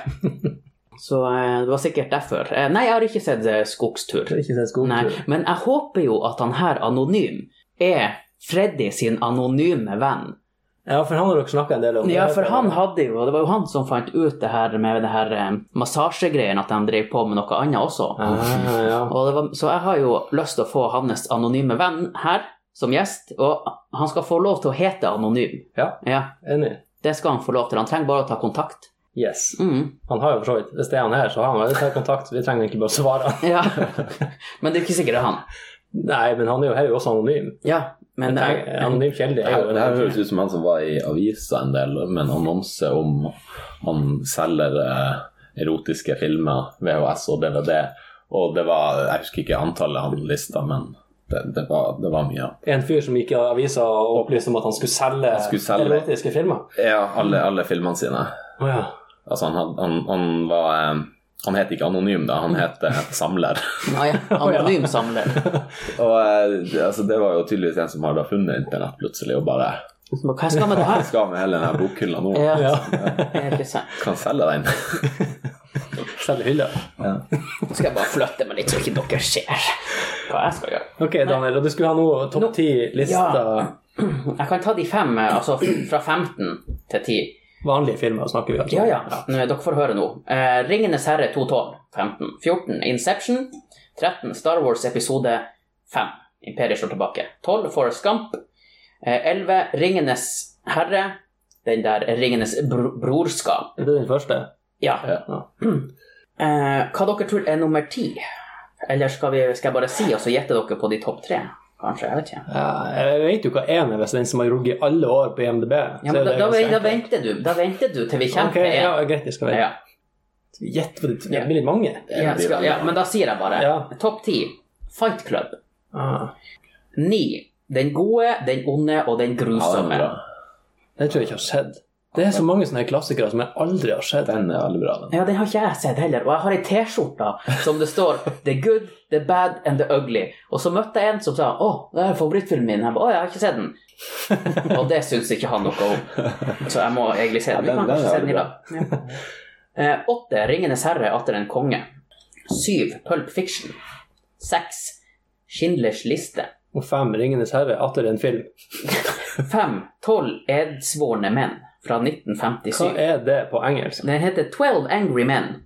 [SPEAKER 2] Så eh, det var sikkert derfor. Eh, nei, jeg har ikke sett eh, Skogstur.
[SPEAKER 1] Jeg har Ikke sett
[SPEAKER 2] Nei,
[SPEAKER 1] Skogtur.
[SPEAKER 2] men jeg håper jo at han her anonym er Freddy sin anonyme venn.
[SPEAKER 1] Ja, for han har dere snakka en del om.
[SPEAKER 2] Ja, for han hadde jo Det var jo han som fant ut det her med det her eh, massasjegreien, at han drev på med noe annet også.
[SPEAKER 1] ah, ja.
[SPEAKER 2] Og det var, så jeg har jo lyst til å få hans anonyme venn her som gjest, og han skal få lov til å hete anonym.
[SPEAKER 1] ja,
[SPEAKER 2] Ja,
[SPEAKER 1] enig.
[SPEAKER 2] det skal han få lov til. Han trenger bare å ta kontakt.
[SPEAKER 1] Yes.
[SPEAKER 2] Mm.
[SPEAKER 1] Han har jo for så vidt Hvis det er han her, så har han vel tatt kontakt. Vi trenger egentlig bare å svare han.
[SPEAKER 2] Ja, men det er ikke sikkert det er han.
[SPEAKER 1] Nei, men han er jo, her er jo også anonym.
[SPEAKER 2] Ja, men
[SPEAKER 1] Men
[SPEAKER 2] jeg,
[SPEAKER 1] anonym kjelde
[SPEAKER 3] Det
[SPEAKER 1] er
[SPEAKER 3] her,
[SPEAKER 1] jo
[SPEAKER 3] det her høres ut som han som var i avisa en del, med en annonse om han selger eh, erotiske filmer, VHS og DVD. Og det var Jeg husker ikke antallet han lista, men det, det, var, det var mye.
[SPEAKER 1] en fyr som gikk i avisa og opplyste om at han skulle selge,
[SPEAKER 3] skulle selge.
[SPEAKER 1] erotiske filmer.
[SPEAKER 3] Ja, alle, alle filmene sine.
[SPEAKER 1] Å ja.
[SPEAKER 3] Altså, han, had- han, han var eh, Han het ikke Anonym, da. Han het eh, Samler.
[SPEAKER 2] Nei, anonym samler.
[SPEAKER 3] Og eh, det- altså, det var jo tydeligvis en som hadde funnet internett plutselig, og bare
[SPEAKER 2] Men hva skal jeg med det
[SPEAKER 3] Hva
[SPEAKER 2] her?
[SPEAKER 3] skal med hele denne bokhylla nå?
[SPEAKER 2] Ja,
[SPEAKER 1] ja.
[SPEAKER 2] det er ikke sant.
[SPEAKER 3] Kan selge den.
[SPEAKER 1] Selger hylla.
[SPEAKER 2] Nå skal jeg bare flytte meg litt, så ikke dere ser hva jeg skal gjøre.
[SPEAKER 1] Ok, Daniel, og du skulle ha noe
[SPEAKER 2] Nå-
[SPEAKER 1] topp ti-lista
[SPEAKER 2] Jeg kan ta de fem, eh, altså fra 15 til 10.
[SPEAKER 1] vanlige filmer, snakker vi altså.
[SPEAKER 2] Ja, ja. Nå, dere får høre nå. Eh, 'Ringenes herre 212', 15. 14. Inception. 13. Star Wars episode 5. Imperiet slår tilbake. 12. Forrest Gump. Eh, 11. Ringenes herre. Den der Ringenes br brorskap.
[SPEAKER 1] Er det den første?
[SPEAKER 2] Ja.
[SPEAKER 1] Ja.
[SPEAKER 2] Eh, hva dere tror er nummer ti? Eller skal, vi, skal jeg bare si, og så gjette dere på de topp tre? Kanskje, jeg vet ikke.
[SPEAKER 1] Ja, jeg vet jo hva én er, hvis den som har ligget i alle år på IMDb.
[SPEAKER 2] Ja, men da, da, da venter du da venter du til vi kommer
[SPEAKER 1] Ok, ja,
[SPEAKER 2] til en.
[SPEAKER 1] greit, jeg skal vente.
[SPEAKER 2] Ja,
[SPEAKER 1] Gjett på det, det blir litt mange.
[SPEAKER 2] ja, skal, ja, men da sier jeg bare
[SPEAKER 1] Ja.
[SPEAKER 2] topp ti. Fight Club.
[SPEAKER 1] Ah,
[SPEAKER 2] Ni. Den gode, den onde og den
[SPEAKER 3] Ja, den,
[SPEAKER 2] grusomme.
[SPEAKER 3] er bra.
[SPEAKER 1] den tror jeg ikke har sett. Det er så mange sånne klassikere som jeg aldri har sett.
[SPEAKER 3] den er veldig bra, den.
[SPEAKER 2] Ja, den har ikke jeg sett heller. Og jeg har ei T-skjorte som det står 'The good, the bad and the ugly'. Og så møtte jeg en som sa 'Å, det er favorittfilmen min'. Jeg ba, Å, jeg har ikke sett den. og det syns ikke han noe om. Så jeg må egentlig se den.
[SPEAKER 3] Ja,
[SPEAKER 2] Vi
[SPEAKER 3] den-
[SPEAKER 2] kan kanskje
[SPEAKER 3] den
[SPEAKER 2] se
[SPEAKER 3] er
[SPEAKER 2] den i dag. Ja. Eh, Åtte. 'Ringenes herre atter en konge'. Syv. Pulp Fiction. Seks. Schindlers liste.
[SPEAKER 1] Og fem, Ringenes herre, atter en film.
[SPEAKER 2] Fem. Tolv edsvorne menn fra 1957.
[SPEAKER 1] Hva er det på engelsk?
[SPEAKER 2] Den heter 12 Angry Men.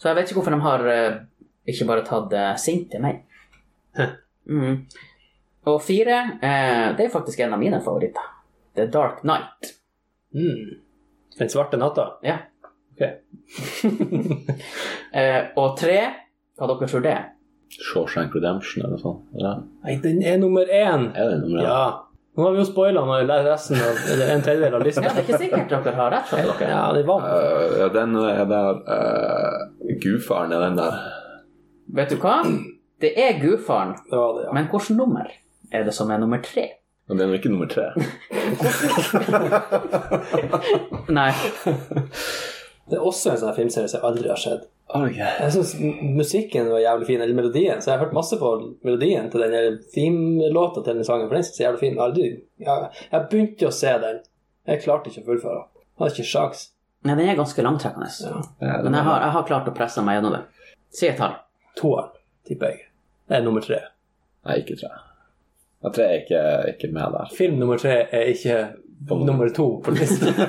[SPEAKER 2] Så jeg vet ikke hvorfor de har eh, ikke bare tatt eh, sinte menn.
[SPEAKER 1] Hæ.
[SPEAKER 2] Mm. Og fire, eh, det er faktisk en av mine favoritter. The Dark Knight.
[SPEAKER 1] Mm. Den svarte natta?
[SPEAKER 2] Ja.
[SPEAKER 1] Ok.
[SPEAKER 2] Eh, og tre, hva dere tror det er?
[SPEAKER 3] Shawshank Redemption eller noe sånt. eller?
[SPEAKER 1] Nei, den er nummer én.
[SPEAKER 3] Er det nummer én?
[SPEAKER 1] Ja. Nå har vi jo spoila når jeg lærer resten av eller en tredjedel av
[SPEAKER 2] Ja,
[SPEAKER 1] lista.
[SPEAKER 2] det er ikke sikkert dere har rett. Fra dere.
[SPEAKER 1] Ja, det var
[SPEAKER 3] Eh, ja, den er der uh, Gudfaren er den der.
[SPEAKER 2] Vet du hva? Det er gudfaren,
[SPEAKER 1] det. Var det ja.
[SPEAKER 2] men hvilket nummer er det som er nummer tre?
[SPEAKER 3] Men den er ikke nummer tre.
[SPEAKER 2] Nei,
[SPEAKER 1] Det er også en sånn her filmserie som jeg aldri har sett.
[SPEAKER 3] Okay.
[SPEAKER 1] Jeg syns musikken var jævlig fin, eller melodien, så jeg har hørt masse på melodien til den her theme-låta til den sangen, for den synes jeg er jævlig fin. Jeg har Aldri, jeg, jeg begynte å se den. Jeg klarte ikke å fullføre. den. Jeg hadde ikke sjans.
[SPEAKER 2] Nei den er ganske langtrekkende.
[SPEAKER 1] Ja.
[SPEAKER 3] Eh,
[SPEAKER 2] Men jeg har, jeg har klart å presse meg gjennom det. Si et tall.
[SPEAKER 1] Toeren, tipper jeg. Det er nummer tre.
[SPEAKER 3] Nei, ikke tre. Ja, tre er ikke, ikke med der.
[SPEAKER 1] Film nummer tre er ikke nummer to på listen.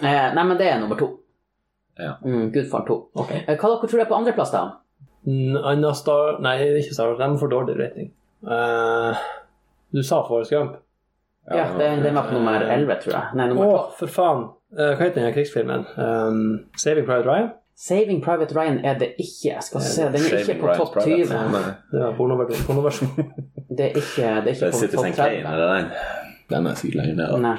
[SPEAKER 2] Eh, nei, men det er nummer to.
[SPEAKER 3] Ja.
[SPEAKER 2] Mm, Gudfaren 2.
[SPEAKER 1] Ok.
[SPEAKER 2] Eh, hva dere tror er på andreplass, da?
[SPEAKER 1] Mm, Anna Star... Nei, det er ikke Star Wars. Den får dårlig rating. Eh, du sa Forrest Gump.
[SPEAKER 2] Ja, den, den var på nummer
[SPEAKER 3] eh,
[SPEAKER 2] 11, tror jeg. Nei,
[SPEAKER 1] Å,
[SPEAKER 2] nummer 12.
[SPEAKER 1] for faen! Eh, hva heter den her krigsfilmen? Um, Saving Private Ryan?
[SPEAKER 2] Saving Private Ryan er det ikke. Jeg skal se, den er ikke
[SPEAKER 3] Saving
[SPEAKER 2] på
[SPEAKER 3] Ryan's
[SPEAKER 2] topp
[SPEAKER 3] Private.
[SPEAKER 2] 20.
[SPEAKER 3] Nei.
[SPEAKER 1] Det var pornoversjonen. pornoversjonen.
[SPEAKER 2] Det er ikke, det er
[SPEAKER 3] Det
[SPEAKER 2] ikke
[SPEAKER 3] er
[SPEAKER 2] på
[SPEAKER 3] Citizen
[SPEAKER 2] topp
[SPEAKER 3] Kane,
[SPEAKER 2] 30.
[SPEAKER 3] er det den? Den er sikkert lenger ned.
[SPEAKER 2] Nei.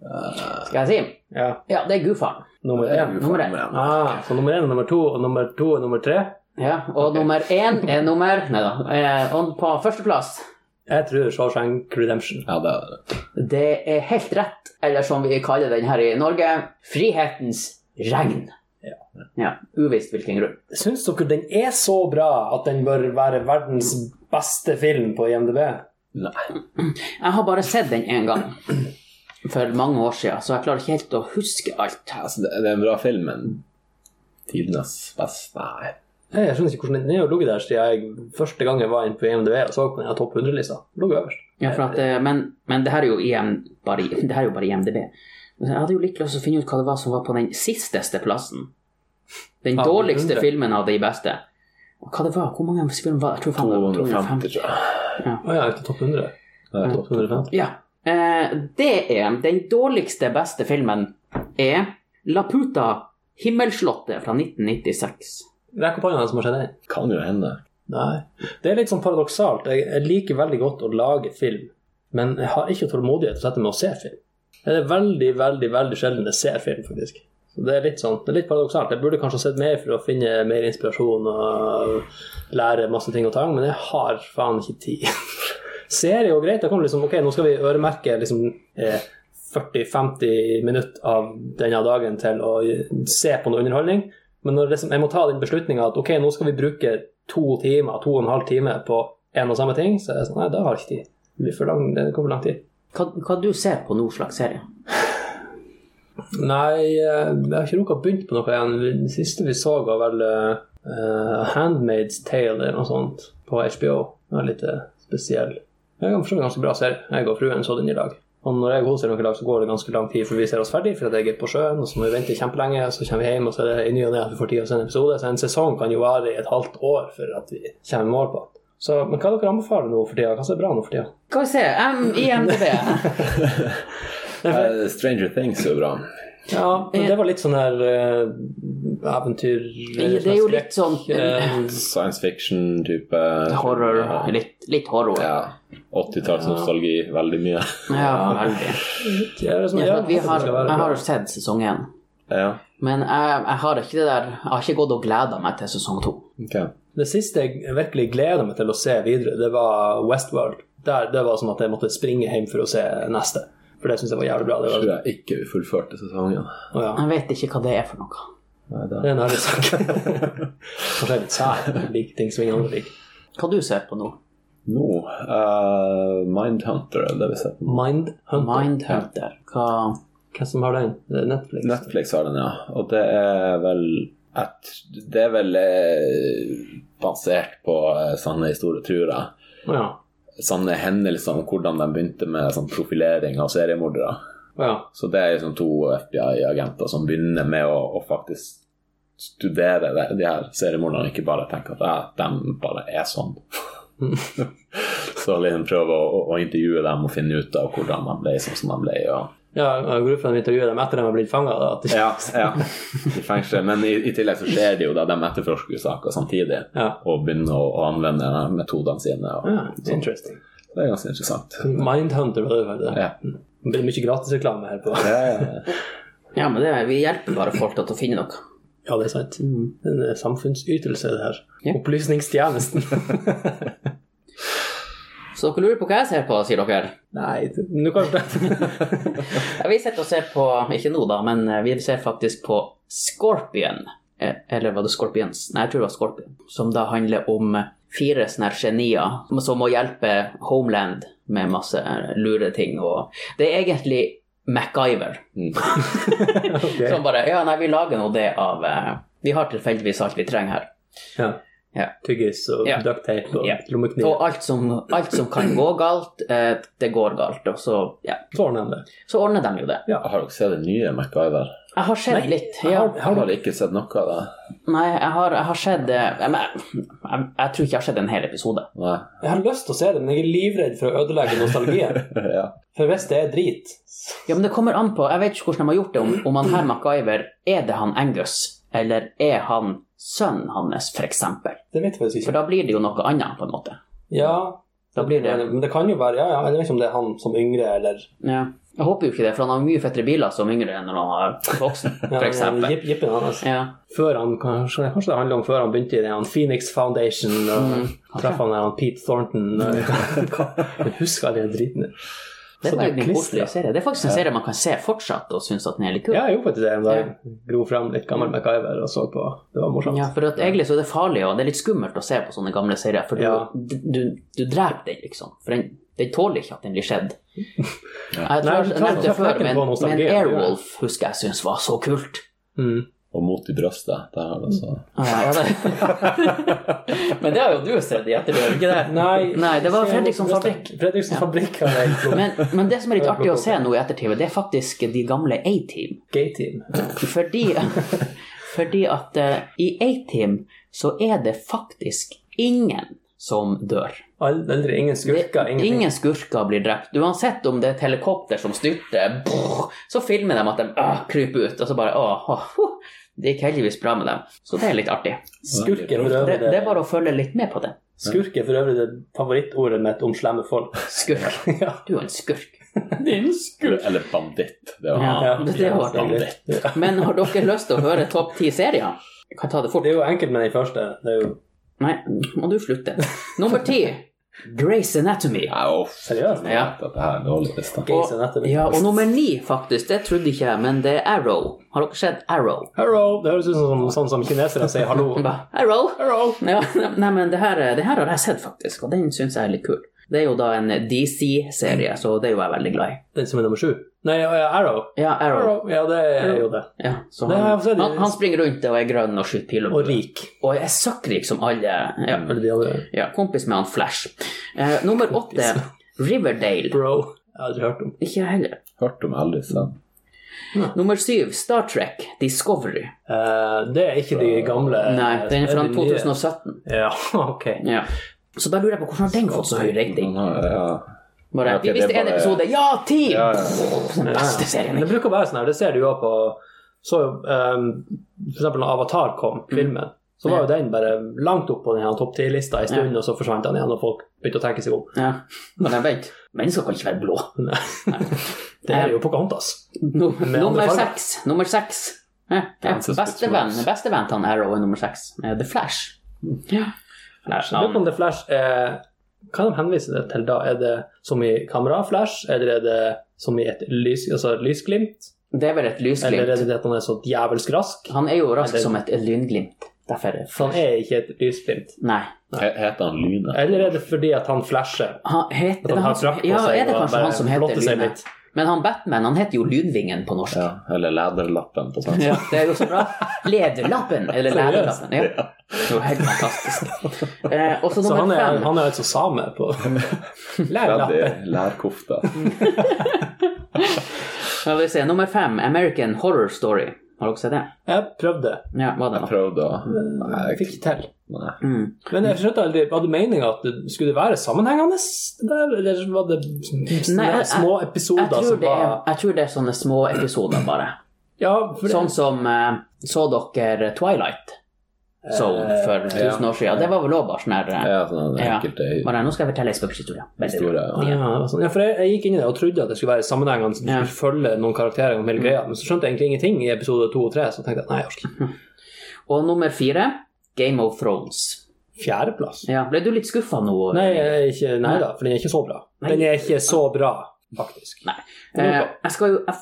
[SPEAKER 3] Eh.
[SPEAKER 2] Skal jeg si?
[SPEAKER 1] ja,
[SPEAKER 2] Ja, det er Gudfaren.
[SPEAKER 1] nummer
[SPEAKER 3] da.
[SPEAKER 1] én.
[SPEAKER 2] nummer
[SPEAKER 3] Gudfaren, ja.
[SPEAKER 1] Ah, så nummer én er nummer to, og nummer to er nummer tre.
[SPEAKER 2] Ja, og nummer én er nummer Nei da. Eh, og på førsteplass,
[SPEAKER 1] Jeg tror Shawshank Redemption.
[SPEAKER 3] Ja, det er det.
[SPEAKER 2] det er helt rett, eller som vi kaller den her i Norge, Frihetens regn. Ja, Uvisst hvilken grunn.
[SPEAKER 1] Syns dere den er så bra at den bør være verdens beste film på IMDb?
[SPEAKER 3] Nei.
[SPEAKER 2] Jeg har bare sett den én gang. For mange år siden, så jeg klarer ikke helt å huske alt.
[SPEAKER 3] Altså, det det er en bra film, men tidenes best Nei.
[SPEAKER 1] Nei, Jeg skjønner ikke hvordan den den har ligget der siden jeg første gang jeg var inne på IMDb og så på den her topp 100-lista. Lå øverst.
[SPEAKER 2] Ja, for at, eh, men, men det her er jo IM, bare, det her er jo bare IMDb. Men Jeg hadde jo litt lyst til å finne ut hva det var som var på den sisteste plassen. Den
[SPEAKER 1] Av de
[SPEAKER 2] dårligste
[SPEAKER 1] 100.
[SPEAKER 2] filmen av de beste. Og hva det var? Hvor mange filmer var det? Jeg tror faen det var 250.
[SPEAKER 3] 250, tror jeg.
[SPEAKER 1] Å ja, ikke topp 100.
[SPEAKER 3] Det er
[SPEAKER 1] Topp 150.
[SPEAKER 2] Ja. Eh, det er Den dårligste beste filmen er La Puta, Himmelslottet fra 1996.
[SPEAKER 1] Rekk opp hånda den som har sett den.
[SPEAKER 3] Kan jo hende.
[SPEAKER 1] Nei. Det er litt sånn paradoksalt. Jeg, jeg liker veldig godt å lage film, men jeg har ikke tålmodighet til å sette meg og se film. Det er veldig, veldig veldig sjelden jeg ser film, faktisk. Så Det er litt sånn, det er litt paradoksalt. Jeg burde kanskje ha sett mer for å finne mer inspirasjon og lære masse ting og tang, men jeg har faen ikke tid. Serie er jo greit. Da kan du liksom, ok, nå skal vi øremerke liksom, eh, 40-50 minutter av denne dagen til å se på noe underholdning. Men når det, som- jeg må ta den beslutninga at ok, nå skal vi bruke to timer, to og en halv time på en og samme ting, så er det sånn, nei, da har jeg ikke tid. Det blir for lang, det går for lang tid.
[SPEAKER 2] Hva, hva du ser på nå slags serie?
[SPEAKER 1] Nei, eh, jeg har ikke rukket å begynne på noe igjen. Det siste vi så, var vel eh, Handmaid's Tale eller noe sånt på HBO. Den er litt eh, spesiell. Det er forstått en ganske bra serie. Jeg og fruen så den i dag. Og når jeg og hun ser noen i dag, så går det ganske lang tid før vi ser oss ferdig, for at jeg er på sjøen, og så må vi vente kjempelenge, så kommer vi hjem, og så er det i ny og ne at vi får tid til å se en episode. Så en sesong kan jo vare i et halvt år for at vi kommer i mål på den. Så, men hva dere anbefaler nå for tida? Hva som er bra nå for tida?
[SPEAKER 2] Skal vi se um, IMDb.
[SPEAKER 3] Eh, Stranger Things er jo bra.
[SPEAKER 1] Ja, men det var litt sånn her eh, eventyr
[SPEAKER 2] Det er jo litt sånn
[SPEAKER 1] Eh,
[SPEAKER 3] Science fiction-type.
[SPEAKER 2] horror.
[SPEAKER 3] Ja.
[SPEAKER 2] Litt, litt horror. Ja,
[SPEAKER 3] Ja. 80-tallsnostalgi veldig mye.
[SPEAKER 2] veldig.
[SPEAKER 1] Ja, det er sånn, ja,
[SPEAKER 2] Ja, for at vi
[SPEAKER 1] det
[SPEAKER 2] har,
[SPEAKER 1] skal være
[SPEAKER 2] jeg
[SPEAKER 1] bra.
[SPEAKER 2] har jo sett sesong én.
[SPEAKER 3] Ja,
[SPEAKER 2] Men jeg, jeg har ikke det der Jeg har ikke gått og gleda meg til sesong to.
[SPEAKER 3] ok.
[SPEAKER 1] Det siste jeg virkelig gleder meg til å se videre, det var Westworld. Der, det var sånn at jeg måtte springe hjem for å se neste. For det syns jeg var jævlig bra. Det,
[SPEAKER 3] Tror
[SPEAKER 1] var,
[SPEAKER 3] jeg ikke vi fullførte sesongen.
[SPEAKER 1] Å ja.
[SPEAKER 2] Jeg vet ikke hva det er for noe.
[SPEAKER 3] Nei,
[SPEAKER 1] det
[SPEAKER 3] det
[SPEAKER 1] er en ærlig sak. Kanskje jeg er litt sær. Jeg Liker ting som ingen andre liker.
[SPEAKER 2] Hva du ser på nå?
[SPEAKER 3] Nå eh, Mindhunter er det vi ser på.
[SPEAKER 1] Mindhunter.
[SPEAKER 2] Mindhunter. Hva
[SPEAKER 1] Hvem som har den? Det er Netflix.
[SPEAKER 3] Netflix har den, ja. Og det er vel et, Det er vel eh, basert på eh, sanne historier, tror jeg.
[SPEAKER 1] Å ja.
[SPEAKER 3] Sanne hendelser om hvordan de begynte med sånn profilering av seriemordere.
[SPEAKER 1] Å ja.
[SPEAKER 3] Så det er liksom to FBI-agenter som begynner med å, å faktisk studere de, de her seriemorderne, ikke bare tenke at «Ah, de bare er sånn. så liksom prøve å, å, å intervjue dem og finne ut av hvordan de ble sånn som de ble. Og...
[SPEAKER 1] ja og gruppen intervjuer dem etter de har blitt fanga. Ja.
[SPEAKER 3] Ja, ja, i fengsel. Men i, i tillegg så skjer det jo da de etterforsker jo saker samtidig
[SPEAKER 1] Ja.
[SPEAKER 3] og begynner å, å anvende de metodene sine. Og,
[SPEAKER 1] ja. Interesting.
[SPEAKER 3] Det er ganske interessant.
[SPEAKER 1] Mindhunter var det vel det.
[SPEAKER 3] Ja.
[SPEAKER 1] Det blir mye gratisreklame her på
[SPEAKER 3] Ja, ja, ja.
[SPEAKER 2] Ja, men det, vi hjelper bare folk til å finne noe.
[SPEAKER 1] Ja, det er sant.
[SPEAKER 2] Mm.
[SPEAKER 1] Det er en eh, samfunnsytelse, det her.
[SPEAKER 2] Ja.
[SPEAKER 1] Opplysningstjenesten.
[SPEAKER 2] Så dere lurer på hva jeg ser på, sier dere?
[SPEAKER 1] Nei, det- nå kanskje det.
[SPEAKER 2] Ja, vi sitter og ser på Ikke nå, da, men eh, vi ser faktisk på Scorpion. Eh, Eller var det Scorpions? Nei, jeg tror det var Scorpion. Som da handler om fire sånne her genier som må hjelpe Homeland med masse eh, lure ting. Og det er egentlig MacGyver
[SPEAKER 3] Mm.
[SPEAKER 1] Sånn.
[SPEAKER 2] som bare Ja, nei, vi lager nå det av eh, Vi har tilfeldigvis alt vi trenger her.
[SPEAKER 1] Ja.
[SPEAKER 2] Ja.
[SPEAKER 1] Tyggis og
[SPEAKER 2] Ja.
[SPEAKER 1] ducktape og
[SPEAKER 2] Ja.
[SPEAKER 1] lommekniv.
[SPEAKER 2] Og alt som, alt som kan gå galt, eh, det går galt. Og så, ja.
[SPEAKER 1] Så ordner de det.
[SPEAKER 2] så ordner de jo det.
[SPEAKER 3] Har dere sett den nye MacGyver?
[SPEAKER 2] Jeg har sett litt. Ja.
[SPEAKER 3] Jeg har bare ikke sett noe av det.
[SPEAKER 2] Nei, jeg har, jeg har sett eh, jeg, jeg, jeg, jeg tror ikke jeg har sett en hel episode.
[SPEAKER 3] Nei.
[SPEAKER 1] Jeg har lyst til å se det, men jeg er livredd for å ødelegge nostalgien.
[SPEAKER 3] Ja.
[SPEAKER 1] For hvis det er drit
[SPEAKER 2] Ja, men det kommer an på, Jeg vet ikke hvordan de har gjort det, om, om han her MacGyver er det han Angus, eller er han sønnen hans, for eksempel
[SPEAKER 1] Det vet jeg faktisk
[SPEAKER 2] For
[SPEAKER 1] ikke.
[SPEAKER 2] da blir det jo noe annet, på en måte.
[SPEAKER 1] Ja,
[SPEAKER 2] Da blir det
[SPEAKER 1] Men det kan jo være Ja, ja, jeg vet ikke om det er han som yngre, eller
[SPEAKER 2] ja. Jeg håper jo ikke det, for han har mye fettere biler som yngre enn når han var voksen,
[SPEAKER 1] ja,
[SPEAKER 2] for eksempel
[SPEAKER 1] jipp- Jippen hans.
[SPEAKER 2] Ja.
[SPEAKER 1] Før han, kanskje, kanskje det handler om før han begynte i den han Phoenix Foundation og
[SPEAKER 2] Mm,
[SPEAKER 1] traff han der han Pete Thornton og, Jeg husker alle de dritene.
[SPEAKER 2] Det
[SPEAKER 1] Så
[SPEAKER 2] var
[SPEAKER 1] du
[SPEAKER 2] egentlig en koselig
[SPEAKER 1] klistret.
[SPEAKER 2] serie. Det er faktisk en serie man kan se fortsatt og synes at den er litt kul.
[SPEAKER 1] Ja, jeg gjorde faktisk det en dag. Gro frem litt gammel MacGyver og så på. Det var morsomt.
[SPEAKER 2] Mm. Ja, for at egentlig så er det farlig, og det er litt skummelt å se på sånne gamle serier, for du,
[SPEAKER 1] Ja.
[SPEAKER 2] du, du, du dreper den, liksom. For den, den tåler ikke at den blir skjedd. Jeg
[SPEAKER 1] Nei, du
[SPEAKER 2] tror jeg
[SPEAKER 1] tar-
[SPEAKER 2] nevnte
[SPEAKER 1] tar
[SPEAKER 2] det før,
[SPEAKER 1] knekken
[SPEAKER 2] men,
[SPEAKER 1] på nostalgi,
[SPEAKER 2] men
[SPEAKER 1] det gjør
[SPEAKER 2] Airwolf husker jeg syns var så kult.
[SPEAKER 1] Mm.
[SPEAKER 3] Og mot i brøstet. Der har det altså. så
[SPEAKER 2] Ja, ja, det- men det har jo du sett i ettertid, ikke det?
[SPEAKER 1] Nei,
[SPEAKER 2] Nei, det var
[SPEAKER 1] se,
[SPEAKER 2] Fredriksson
[SPEAKER 1] jeg må-
[SPEAKER 2] Fabrikk.
[SPEAKER 1] Fredriksson Fabrikk har jeg plukket.
[SPEAKER 2] Men, men det som er litt artig å se nå i ettertid, det er faktisk de gamle A-Team.
[SPEAKER 1] Gay-team.
[SPEAKER 2] Fordi, fordi at eh, i A-Team så er det faktisk ingen som dør.
[SPEAKER 1] Ald- Aldri ingen skurker,
[SPEAKER 2] Det-
[SPEAKER 1] ingenting.
[SPEAKER 2] Ingen skurker blir drept. Uansett om det er et helikopter som styrter, brrr, så filmer de at de ah, kryper ut, og så bare åh, åh, huh, Det gikk heldigvis bra med dem. Så det er litt artig.
[SPEAKER 1] Skurk er for
[SPEAKER 2] Det,
[SPEAKER 1] øvrig
[SPEAKER 2] det er
[SPEAKER 1] det,
[SPEAKER 2] bare å følge litt med på det.
[SPEAKER 1] skurk er for øvrig det favorittordet mitt om slemme folk.
[SPEAKER 2] Skurk.
[SPEAKER 1] Ja.
[SPEAKER 2] Du er en skurk. Din skurk.
[SPEAKER 3] Eller banditt. Det var
[SPEAKER 2] Ja. det- det var
[SPEAKER 3] banditt.
[SPEAKER 1] Ja.
[SPEAKER 2] Men har dere lyst til å høre topp ti serier? Jeg kan ta det fort.
[SPEAKER 1] Det er jo enkelt med den første. Det er jo
[SPEAKER 2] Nei, må du slutte. Nummer ti. Grace Anatomy.
[SPEAKER 3] Nei, uff.
[SPEAKER 1] Seriøst?
[SPEAKER 3] Jeg vet at det her er dårlig lista.
[SPEAKER 1] Grey's Anatomy.
[SPEAKER 2] Ja, og nummer ni, faktisk. Det trodde ikke jeg, men det er Arrow. Har dere sett Arrow?
[SPEAKER 1] Hello! Det høres ut som sånn som kinesere sier hallo.
[SPEAKER 2] Hun bare, Arrow!
[SPEAKER 1] Hello!
[SPEAKER 2] Ja, nei, men det her, det her har jeg sett, faktisk, og den syns jeg er litt kul. Det er jo da en DC-serie, så det er jo jeg veldig glad i.
[SPEAKER 1] Den som er nummer sju. Nei, ja, ja, Arrow.
[SPEAKER 2] Ja, Arrow.
[SPEAKER 1] Arrow. Ja, det er jo det.
[SPEAKER 2] Ja, så
[SPEAKER 1] Det har jeg også
[SPEAKER 2] han,
[SPEAKER 1] sett.
[SPEAKER 2] han, han springer rundt og er grønn og skyter piler.
[SPEAKER 1] Og rik.
[SPEAKER 2] Og er søkkrik som alle. Ja,
[SPEAKER 1] Eller de andre.
[SPEAKER 2] ja, kompis med han Flash. Eh, nummer åtte, Riverdale.
[SPEAKER 1] Bro. Jeg har aldri hørt om.
[SPEAKER 2] Ikke jeg heller.
[SPEAKER 3] Hørte om aldri sett.
[SPEAKER 2] Nummer syv, Star Trek Discovery.
[SPEAKER 1] Eh, det er ikke de gamle
[SPEAKER 3] Eh,
[SPEAKER 2] Nei, den er fra
[SPEAKER 1] de nye.
[SPEAKER 2] 2017.
[SPEAKER 1] Ja, ok.
[SPEAKER 2] Ja. Så da lurer jeg på hvordan har den fått så høy rating?
[SPEAKER 3] Han har- Ja.
[SPEAKER 2] Bare,
[SPEAKER 3] Ja, ok,
[SPEAKER 2] vi visste
[SPEAKER 3] det er
[SPEAKER 2] en
[SPEAKER 3] bare-
[SPEAKER 2] episode. Ja, ti!
[SPEAKER 3] Ja, ja.
[SPEAKER 2] Den beste sånn serien.
[SPEAKER 1] Det bruker å være sånn her, det ser du jo også på så, um, For eksempel når Avatar
[SPEAKER 2] Mm.
[SPEAKER 1] kom, filmen, så var jo den bare langt opp på den her topp 10-lista en stund, og så forsvant den igjen, og folk begynte å tenke seg om.
[SPEAKER 2] Ja. Men jeg vet, mennesker kan ikke være blå.
[SPEAKER 1] Det er jo Pocahontas.
[SPEAKER 2] No,
[SPEAKER 1] Med
[SPEAKER 2] nummer
[SPEAKER 1] andre farger.
[SPEAKER 2] seks. Nummer seks. Ja, ja.
[SPEAKER 3] Dances with
[SPEAKER 2] Bestevenn
[SPEAKER 3] Wolves.
[SPEAKER 2] bestevenn til han Arrow er nummer seks. Eh, The Flash. Ja. Flash
[SPEAKER 1] Jeg lurer på
[SPEAKER 2] navn.
[SPEAKER 1] om det Flash er Hva de henviser det til da? Er det som i kamera-flash, eller er det som i et lys, altså et lysglimt?
[SPEAKER 2] Det er vel et
[SPEAKER 1] Eller er
[SPEAKER 2] lysglimt.
[SPEAKER 1] det det at han er så djevelsk rask?
[SPEAKER 2] Han er jo rask
[SPEAKER 1] Eller-
[SPEAKER 2] som et lynglimt. Derfor er det
[SPEAKER 1] For han er ikke et lysglimt.
[SPEAKER 2] Nei.
[SPEAKER 3] He- Heter han Lyne?
[SPEAKER 1] Eller er det fordi at han flasher?
[SPEAKER 2] Han, heter
[SPEAKER 1] At han
[SPEAKER 2] det han
[SPEAKER 1] har
[SPEAKER 2] som,
[SPEAKER 1] frakk på
[SPEAKER 2] ja,
[SPEAKER 1] seg
[SPEAKER 2] er det
[SPEAKER 1] og
[SPEAKER 2] kanskje
[SPEAKER 1] bare
[SPEAKER 2] han som heter
[SPEAKER 1] blotter seg
[SPEAKER 2] Lyne?
[SPEAKER 1] litt.
[SPEAKER 2] Men han Batman, han heter jo Lynvingen på norsk.
[SPEAKER 3] Ja. Eller Læderlappen på svensk.
[SPEAKER 2] Ja, det er jo så bra. Lederlappen, eller Læderlappen. Ja. Det er jo helt fantastisk. Eh, og så
[SPEAKER 1] Så han
[SPEAKER 2] nummer
[SPEAKER 1] er,
[SPEAKER 2] fem.
[SPEAKER 1] han er altså same på lærlappen.
[SPEAKER 3] Freddy Lærkofte.
[SPEAKER 2] Ja, vi ser, nummer fem, American Horror Story. Har dere sett det?
[SPEAKER 1] Jeg prøvde,
[SPEAKER 2] Ja, var det
[SPEAKER 3] Jeg
[SPEAKER 2] noe?
[SPEAKER 3] prøvde å Nei,
[SPEAKER 1] jeg fikk
[SPEAKER 3] jeg-
[SPEAKER 1] ikke til.
[SPEAKER 3] nei.
[SPEAKER 2] Mm.
[SPEAKER 1] Men jeg skjønte aldri, var det meningen at det skulle det være sammenhengende det der, eller var det
[SPEAKER 2] Nei, jeg- jeg-
[SPEAKER 1] små
[SPEAKER 2] Jeg
[SPEAKER 1] episoder
[SPEAKER 2] tror,
[SPEAKER 1] som
[SPEAKER 2] det er,
[SPEAKER 1] var
[SPEAKER 2] jeg tror det er sånne små episoder, bare.
[SPEAKER 1] Ja, for det-
[SPEAKER 2] Sånn som eh, Så dere eh, Twilight Zone
[SPEAKER 1] Eh,
[SPEAKER 2] for
[SPEAKER 3] ja.
[SPEAKER 2] tusen år siden? Det var vel òg bare sånn her eh,
[SPEAKER 3] Ja, sånn
[SPEAKER 2] Ja.
[SPEAKER 3] enkelte
[SPEAKER 2] Bare nå skal jeg fortelle en spøkelseshistorie. Veldig bra.
[SPEAKER 1] Ja,
[SPEAKER 3] historier.
[SPEAKER 1] det var sånn. ja, for jeg, jeg gikk inn i det og trodde at det skulle være sammenhengende, som
[SPEAKER 2] Ja.
[SPEAKER 1] skulle følge noen karakterer gjennom hele greia, men så skjønte jeg egentlig ingenting i episode to og tre, så tenkte jeg at nei, jeg orker ikke.
[SPEAKER 2] Og nummer fire, Game of Thrones.
[SPEAKER 1] Fjerdeplass?
[SPEAKER 2] Ja, ble du litt skuffa nå?
[SPEAKER 1] Nei, jeg er ikke, nei da, for den er ikke så bra. Den er ikke så bra, faktisk.
[SPEAKER 2] Nei. Eh, jeg skal jo Jeg,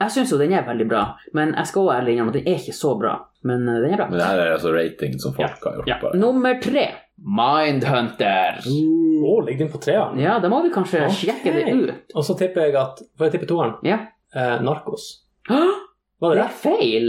[SPEAKER 2] jeg syns jo den er veldig bra, men jeg skal også ærlig innrømme at den er ikke så bra. Men eh, den er bra.
[SPEAKER 3] Men det her er altså rating som folk har gjort.
[SPEAKER 2] Ja.
[SPEAKER 3] bare.
[SPEAKER 2] Nummer tre, Mindhunter.
[SPEAKER 1] Å, ligger den på treeren?
[SPEAKER 2] Ja, da må vi kanskje
[SPEAKER 1] Ok.
[SPEAKER 2] sjekke det ut.
[SPEAKER 1] Og så tipper jeg at Får jeg tippe toeren?
[SPEAKER 2] Ja.
[SPEAKER 1] Eh, narkos.
[SPEAKER 2] Hå!
[SPEAKER 1] Var
[SPEAKER 2] Det
[SPEAKER 1] det
[SPEAKER 2] er feil!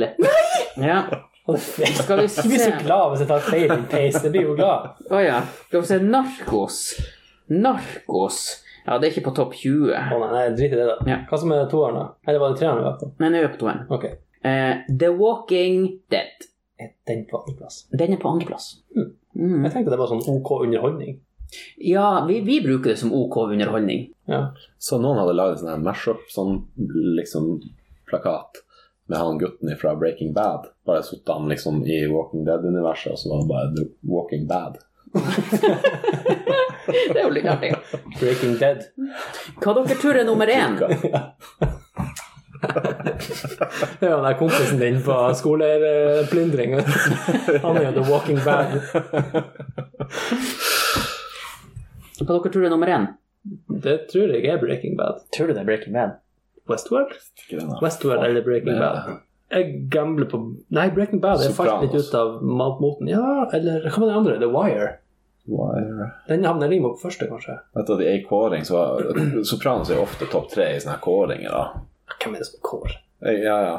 [SPEAKER 2] Ja,
[SPEAKER 1] det?
[SPEAKER 2] skal vi
[SPEAKER 1] Jeg blir
[SPEAKER 2] se
[SPEAKER 1] så glad hvis jeg tar feil i pace, jeg blir jo glad.
[SPEAKER 2] Å ja. Skal vi se Narkos. Narkos. Ja, det er ikke på topp 20.
[SPEAKER 1] Å nei, nei, drit i det, da.
[SPEAKER 2] Ja.
[SPEAKER 1] Hva som er toeren, da? Eller var det treeren vi var på?
[SPEAKER 2] Men nå er vi på toeren.
[SPEAKER 1] Ok.
[SPEAKER 2] Eh, The Walking Dead.
[SPEAKER 1] Er Den på andreplass.
[SPEAKER 2] Den er på andreplass. Mm.
[SPEAKER 1] Jeg tenkte det var sånn OK underholdning.
[SPEAKER 2] Ja, vi, vi bruker det som OK underholdning.
[SPEAKER 1] Ja.
[SPEAKER 3] Så noen hadde lagd en sånn her mash-up, sånn liksom plakat med han gutten fra Breaking Bad. Bare satt han liksom i Walking Dead-universet, og så var det bare The Walking Bad.
[SPEAKER 2] Det er jo litt artig.
[SPEAKER 1] Breaking Dead.
[SPEAKER 2] Hva dere tror er nummer én?
[SPEAKER 1] Det er jo den der kompisen din på skoleplyndring. Han er jo the walking bad.
[SPEAKER 2] Hva dere tror er nummer én?
[SPEAKER 1] Det tror jeg er Breaking Bad.
[SPEAKER 2] Tror du det er Breaking Bad?
[SPEAKER 1] Westworld?
[SPEAKER 3] Ikke den her.
[SPEAKER 1] Westworld eller Breaking Bad? Jeg gambler på Nei, Breaking Bad er falt litt ut av matmoten. Ja, eller hva var den andre? The Wire?
[SPEAKER 3] Wire.
[SPEAKER 1] Den havner Limo på første, kanskje.
[SPEAKER 3] Vet du at i ei kåring så Sopranos er jo ofte topp tre i sånne her kåringer, da.
[SPEAKER 1] Hvem er det som kår?
[SPEAKER 3] Ja, ja.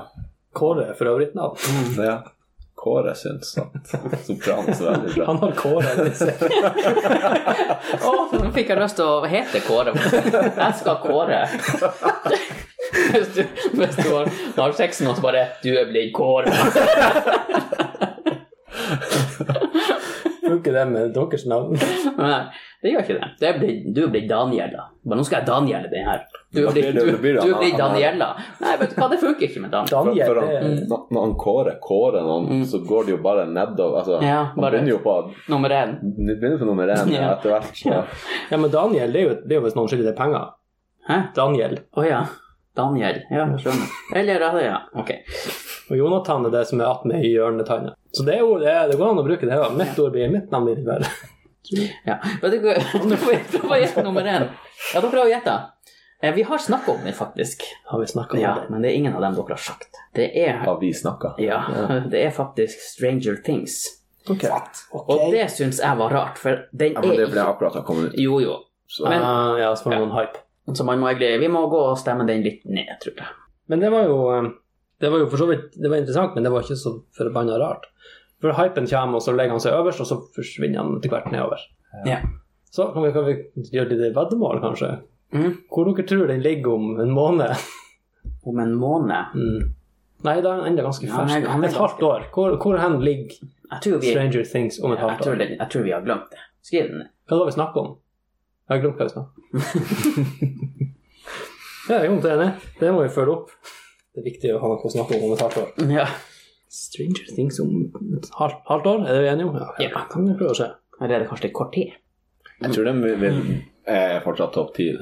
[SPEAKER 1] Kåre er for øvrig et navn.
[SPEAKER 3] Det Kåre syns at Sopranos er veldig bra.
[SPEAKER 1] Han har Kåre. i seg.
[SPEAKER 2] Å, nå fikk jeg lyst til å hete Kåre. Jeg skal Kåre. Hvis du, hvis du har, har sex med noen, så bare Du er blitt Kåre.
[SPEAKER 1] Funker det med deres navn?
[SPEAKER 2] Nei, det gjør ikke det. det er blitt, du er blitt Daniel, da. Bare nå skal jeg Daniel den her. Du
[SPEAKER 3] Da
[SPEAKER 2] er blitt,
[SPEAKER 3] blir det-
[SPEAKER 2] du,
[SPEAKER 3] det blir det
[SPEAKER 2] du er blitt
[SPEAKER 3] han- han-
[SPEAKER 2] Daniela. Nei, vet du hva, det funker ikke med Daniel.
[SPEAKER 3] For,
[SPEAKER 1] Daniel
[SPEAKER 3] for
[SPEAKER 1] det
[SPEAKER 3] han,
[SPEAKER 1] er
[SPEAKER 3] når når han Kåre kårer noen, så går det jo bare nedover. Altså,
[SPEAKER 2] Mm. Ja,
[SPEAKER 3] Han
[SPEAKER 2] bare-
[SPEAKER 3] begynner jo på
[SPEAKER 2] Nummer én.
[SPEAKER 3] begynner på nummer én
[SPEAKER 2] Ja.
[SPEAKER 3] etter hvert. Så.
[SPEAKER 1] Ja, men Daniel, det er jo, det er jo hvis noen skylder deg penger.
[SPEAKER 2] Hæ?
[SPEAKER 1] Daniel.
[SPEAKER 2] Å ja. Daniel. Ja, jeg skjønner. Eller ja, ja. Ok.
[SPEAKER 1] Og Jonathan er det som er attmed i hjørnetanna. Så det er jo det, det går an å bruke det. her. Mitt ord blir mitt navn. blir det vel.
[SPEAKER 2] Ja. Vet du hva- Prøv å gjette nummer én. Ja, dere har gjetta. Vi har snakka om det, faktisk.
[SPEAKER 1] Har vi snakka om
[SPEAKER 2] Ja,
[SPEAKER 1] det?
[SPEAKER 2] men det er ingen av dem dere har sagt. Det er,
[SPEAKER 3] Har vi snakka?
[SPEAKER 2] ja, det er faktisk Stranger Things.
[SPEAKER 3] Okay.
[SPEAKER 1] Ok.
[SPEAKER 2] Og det syns jeg var rart, for den
[SPEAKER 3] Ja, men det
[SPEAKER 2] er
[SPEAKER 3] er fordi jeg
[SPEAKER 2] ikke
[SPEAKER 3] akkurat har kommet ut.
[SPEAKER 2] Jo, jo.
[SPEAKER 3] Så.
[SPEAKER 2] Men-
[SPEAKER 1] Ah, ja, så får man noen hype.
[SPEAKER 2] Så man må egentlig Vi må gå og stemme den litt ned, tror jeg.
[SPEAKER 1] Men det var jo eh, Det var jo for så vidt Det var interessant, men det var ikke så forbanna rart. For hypen kommer, og så legger han seg øverst, og så forsvinner han etter hvert nedover.
[SPEAKER 2] Ja.
[SPEAKER 1] Så kan vi, kan vi gjøre det til veddemål, kanskje?
[SPEAKER 2] Mm.
[SPEAKER 1] Hvor dere tror den ligger om en måned?
[SPEAKER 2] Om en måned
[SPEAKER 1] Mm. Nei, da er den enda ganske
[SPEAKER 2] Ja,
[SPEAKER 1] fersk.
[SPEAKER 2] han er- han er
[SPEAKER 1] et
[SPEAKER 2] ganske-
[SPEAKER 1] halvt år. Hvor, hvor hen ligger
[SPEAKER 2] Jeg tror vi, jeg
[SPEAKER 1] Stranger Things om et halvt
[SPEAKER 2] tror
[SPEAKER 1] år?
[SPEAKER 2] den, jeg tror vi har glemt det. Skriv den ned.
[SPEAKER 1] Hva var det vi snakket om? Jeg har glemt hva vi snakket om. ja, jeg er vondt enig. Det må vi følge opp. Det er viktig å ha noe å snakke om om et halvt år.
[SPEAKER 2] Ja.
[SPEAKER 1] Stranger Things om et halvt, halvt år, er det vi enige om?
[SPEAKER 2] Ja.
[SPEAKER 1] det kan vi prøve å se.
[SPEAKER 2] Eller er det kanskje litt kort tid?
[SPEAKER 3] Jeg tror den vil, vil, er fortsatt topp ti.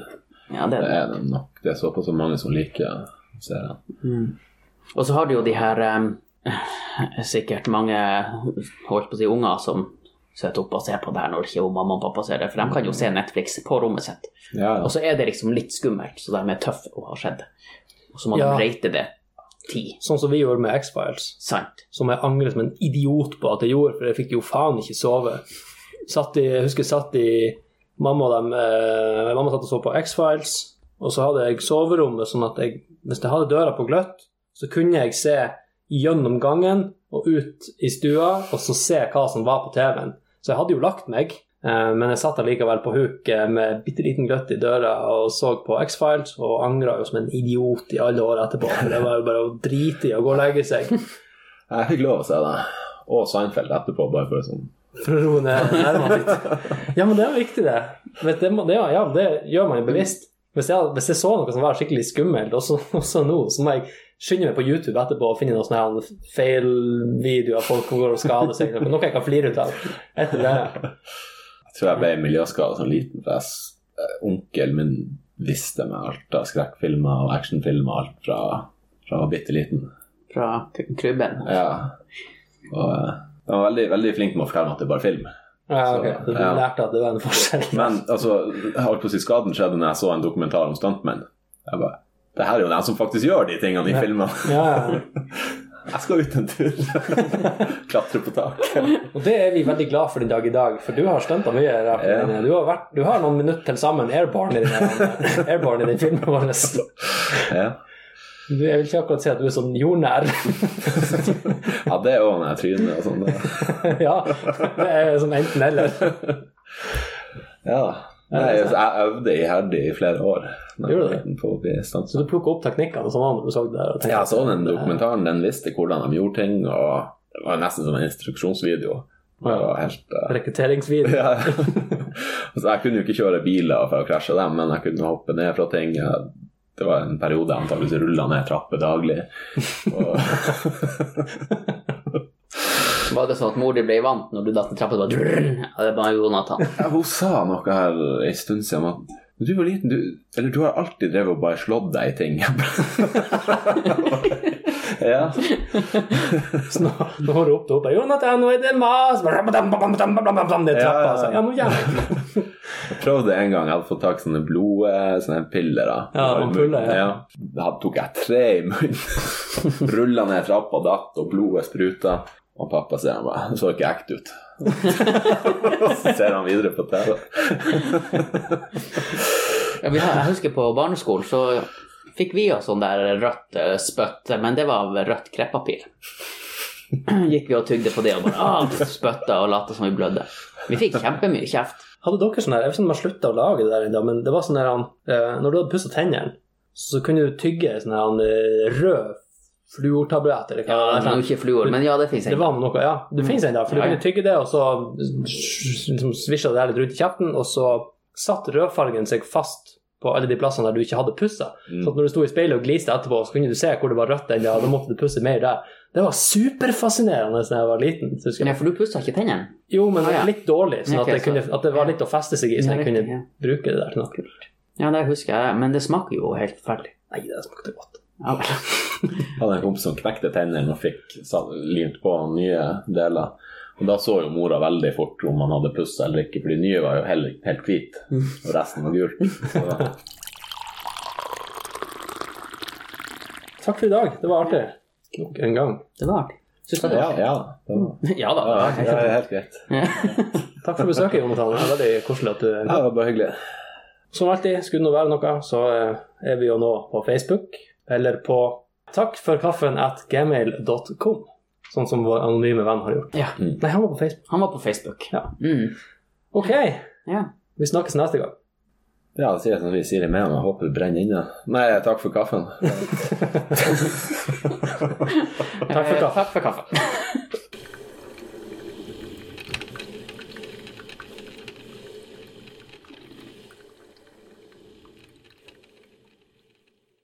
[SPEAKER 2] Ja, det
[SPEAKER 3] Det
[SPEAKER 2] er det.
[SPEAKER 3] er den nok. Det er såpass mange som liker serien.
[SPEAKER 2] Og så har du jo de her em, sikkert mange holdt på å si unger som sitter oppe og ser på det her når ikke mamma og pappa ser det, for de kan jo se Netflix på rommet sitt.
[SPEAKER 3] Ja,
[SPEAKER 2] Og så er det liksom litt skummelt, så de er tøffe og har skjedd. Og så må
[SPEAKER 1] Ja.
[SPEAKER 2] de rate det ti.
[SPEAKER 1] Sånn som vi gjorde med X-Files,
[SPEAKER 2] Sant.
[SPEAKER 1] som jeg angrer som en idiot på at jeg gjorde, for jeg fikk jo faen ikke sove. Satt i, jeg husker jeg satt i mamma og dem, eh, mamma satt og så på X-Files, og så hadde jeg soverommet sånn at jeg, hvis jeg hadde døra på gløtt, så kunne jeg se gjennom gangen og ut i stua, og så se hva som var på TV-en. Så jeg hadde jo lagt meg, eh, men jeg satt allikevel på huk eh, med bitte liten gløtt i døra og så på X-Files, og angra jo som en idiot i alle år etterpå. for Det var jo bare å drite i å gå og legge seg.
[SPEAKER 3] Jeg fikk lov å se det. Og Seinfeld etterpå, bare for å sånn
[SPEAKER 1] for å roe ned nervene litt. Ja, men det er jo viktig, det. Vet, det, må, det, ja, det gjør man jo bevisst. Hvis jeg, hvis jeg så noe som var skikkelig skummelt, også, også nå, så må jeg skynde meg på YouTube etterpå og finne noen sånne her feilvideoer av folk som går og skader seg, noe noe jeg kan flire ut av. Etter det.
[SPEAKER 3] Jeg tror jeg ble miljøskada som liten, for jeg, s- eh, onkelen min visste meg alt av skrekkfilmer og actionfilmer, alt fra, fra jeg var bitte liten.
[SPEAKER 2] Fra k- krybben.
[SPEAKER 3] Ja. Og eh, de var veldig, veldig flink med å fortelle meg at det er bare film.
[SPEAKER 1] Ja, ok.
[SPEAKER 3] Så,
[SPEAKER 1] Du
[SPEAKER 3] ja.
[SPEAKER 1] lærte at det var en forskjell.
[SPEAKER 3] Men altså, jeg holdt på å si skaden skjedde når jeg så en dokumentar om stuntmenn. Jeg bare Det her er jo dem som faktisk gjør de tingene i
[SPEAKER 1] Ja.
[SPEAKER 3] filmene.
[SPEAKER 1] Ja, ja.
[SPEAKER 3] Jeg skal ut en tur. Klatre på taket.
[SPEAKER 1] Og det er vi veldig glad for den dag i dag, for du har stunta mye. Rafa.
[SPEAKER 3] Ja.
[SPEAKER 1] Du, har vært, du har noen minutter til sammen airborne i den, airborne i den filmen vår.
[SPEAKER 3] Ja.
[SPEAKER 1] Du, jeg vil ikke akkurat si at du er sånn jordnær.
[SPEAKER 3] ja, det er jo når jeg tryner og sånn. det.
[SPEAKER 1] ja, det er sånn enten eller.
[SPEAKER 3] Ja. Nei, jeg, jeg øvde iherdig i flere år. når jeg
[SPEAKER 1] Gjorde
[SPEAKER 3] var
[SPEAKER 1] du det?
[SPEAKER 3] liten På å bli stuntmann.
[SPEAKER 1] Så du plukket opp teknikkene og sånn når du så det der? Og tenkte,
[SPEAKER 3] Ja, sånn jeg så den dokumentaren, den visste hvordan de gjorde ting, og det var nesten som en instruksjonsvideo. Det var helt eh,
[SPEAKER 1] Rekrutteringsvideo.
[SPEAKER 3] ja. altså, Jeg kunne jo ikke kjøre biler for å krasje dem, men jeg kunne hoppe ned fra ting. Jeg- Det var en periode jeg antakeligvis rulla ned trapper daglig. Og...
[SPEAKER 2] Var det sånn at mor di ble vant når du datt i trappa? Det var drrrr, ja, det var Jonathan.
[SPEAKER 3] Ja, Hun sa noe her en stund siden om at «Men du var liten, du, eller du har alltid drevet og bare slått deg i ting. ja.
[SPEAKER 1] Så nå, nå ropte hun opp Jonathan, nå er det mas! Blablabla, Ned
[SPEAKER 3] Ja,
[SPEAKER 1] trappa.
[SPEAKER 3] ja,
[SPEAKER 1] Så,
[SPEAKER 3] ja.
[SPEAKER 1] ja, nå gjør jeg det.
[SPEAKER 3] prøvde en gang, jeg hadde fått tak i sånne blod, eh, sånne piller. Da.
[SPEAKER 1] Ja,
[SPEAKER 3] I
[SPEAKER 1] ampuller,
[SPEAKER 3] munnen,
[SPEAKER 1] ja.
[SPEAKER 3] Da tok jeg tre i munnen, rulla ned trappa, datt, og blodet spruta. Og pappa ser han bare Det så ikke ekte ut. Og så ser han videre på TV.
[SPEAKER 2] Ja, vi har, jeg husker på barneskolen så fikk vi jo sånn der rødt eh, spytt, men det var av rødt kreppapir. Gikk vi og tygde på det og bare ah, spytta og lot som vi blødde. Vi fikk kjempemye kjeft.
[SPEAKER 1] Hadde dere sånn her Jeg vet ikke om man slutta å lage det der ennå, men det var sånn her han, eh, Når du hadde pussa tennene, så kunne du tygge sånn her han, eh, rød fluortablett eller
[SPEAKER 2] Ja,
[SPEAKER 1] hva
[SPEAKER 2] det
[SPEAKER 3] sånn
[SPEAKER 2] var jo Sånn, ikke fluor, men ja, det fins
[SPEAKER 1] Det
[SPEAKER 2] en.
[SPEAKER 1] var noe, ja.
[SPEAKER 2] Mm.
[SPEAKER 1] Det finnes en dag, for du
[SPEAKER 2] Ja, ja.
[SPEAKER 1] kunne tygge det, og så liksom svisja det der litt rundt i kjeften, og så satt rødfargen seg fast på alle de plassene der du ikke hadde pussa.
[SPEAKER 3] Mm.
[SPEAKER 1] Så at når du sto i speilet og gliste etterpå, så kunne du se hvor det var rødt ennå, og da måtte du pusse mer der. Det var superfascinerende da jeg var liten. så Husker
[SPEAKER 2] Ja,
[SPEAKER 1] jeg.
[SPEAKER 2] for du pussa ikke tennene?
[SPEAKER 1] Jo, men
[SPEAKER 2] Ah, ja.
[SPEAKER 1] litt dårlig, sånn at,
[SPEAKER 2] Ok,
[SPEAKER 1] jeg kunne,
[SPEAKER 2] så-
[SPEAKER 1] at det var litt å feste seg i, så
[SPEAKER 2] Ja,
[SPEAKER 1] jeg
[SPEAKER 2] riktig,
[SPEAKER 1] kunne
[SPEAKER 2] ja.
[SPEAKER 1] bruke det der til noe.
[SPEAKER 2] Ja, det husker jeg, men det smaker jo helt forferdelig.
[SPEAKER 1] Nei, det smakte godt.
[SPEAKER 2] Ja vel.
[SPEAKER 3] hadde en kompis som knekte tennene og fikk sa- limt på nye deler. Og da så jo mora veldig fort om han hadde pussa eller ikke, for de nye var jo helt, helt hvite, og resten var gult. Så da-
[SPEAKER 1] Takk for i dag. Det var artig. Nok en gang.
[SPEAKER 2] Det var artig. Syns du det?
[SPEAKER 3] Ja, ja, det var
[SPEAKER 2] Ja da.
[SPEAKER 3] ja, det er helt greit.
[SPEAKER 1] Takk for besøket, Jonathan. Det er veldig koselig at du
[SPEAKER 3] Ja, Det var bare hyggelig.
[SPEAKER 1] Som alltid, skulle det nå være noe, så eh, er vi jo nå på Facebook, eller på takkforkaffen at gmail.com, sånn som vår anonyme venn har gjort.
[SPEAKER 2] Ja.
[SPEAKER 1] Nei, han var på Facebook.
[SPEAKER 2] Han var på Facebook.
[SPEAKER 1] Ja.
[SPEAKER 2] Mm.
[SPEAKER 1] Ok,
[SPEAKER 2] ja.
[SPEAKER 1] vi snakkes neste gang.
[SPEAKER 3] Ja, det sier jeg som vi sier i Mehamn. Jeg håper det brenner inne. Nei, takk for kaffen.
[SPEAKER 1] Takk for
[SPEAKER 2] Eh,
[SPEAKER 1] kaffen.
[SPEAKER 2] Takk for kaffen.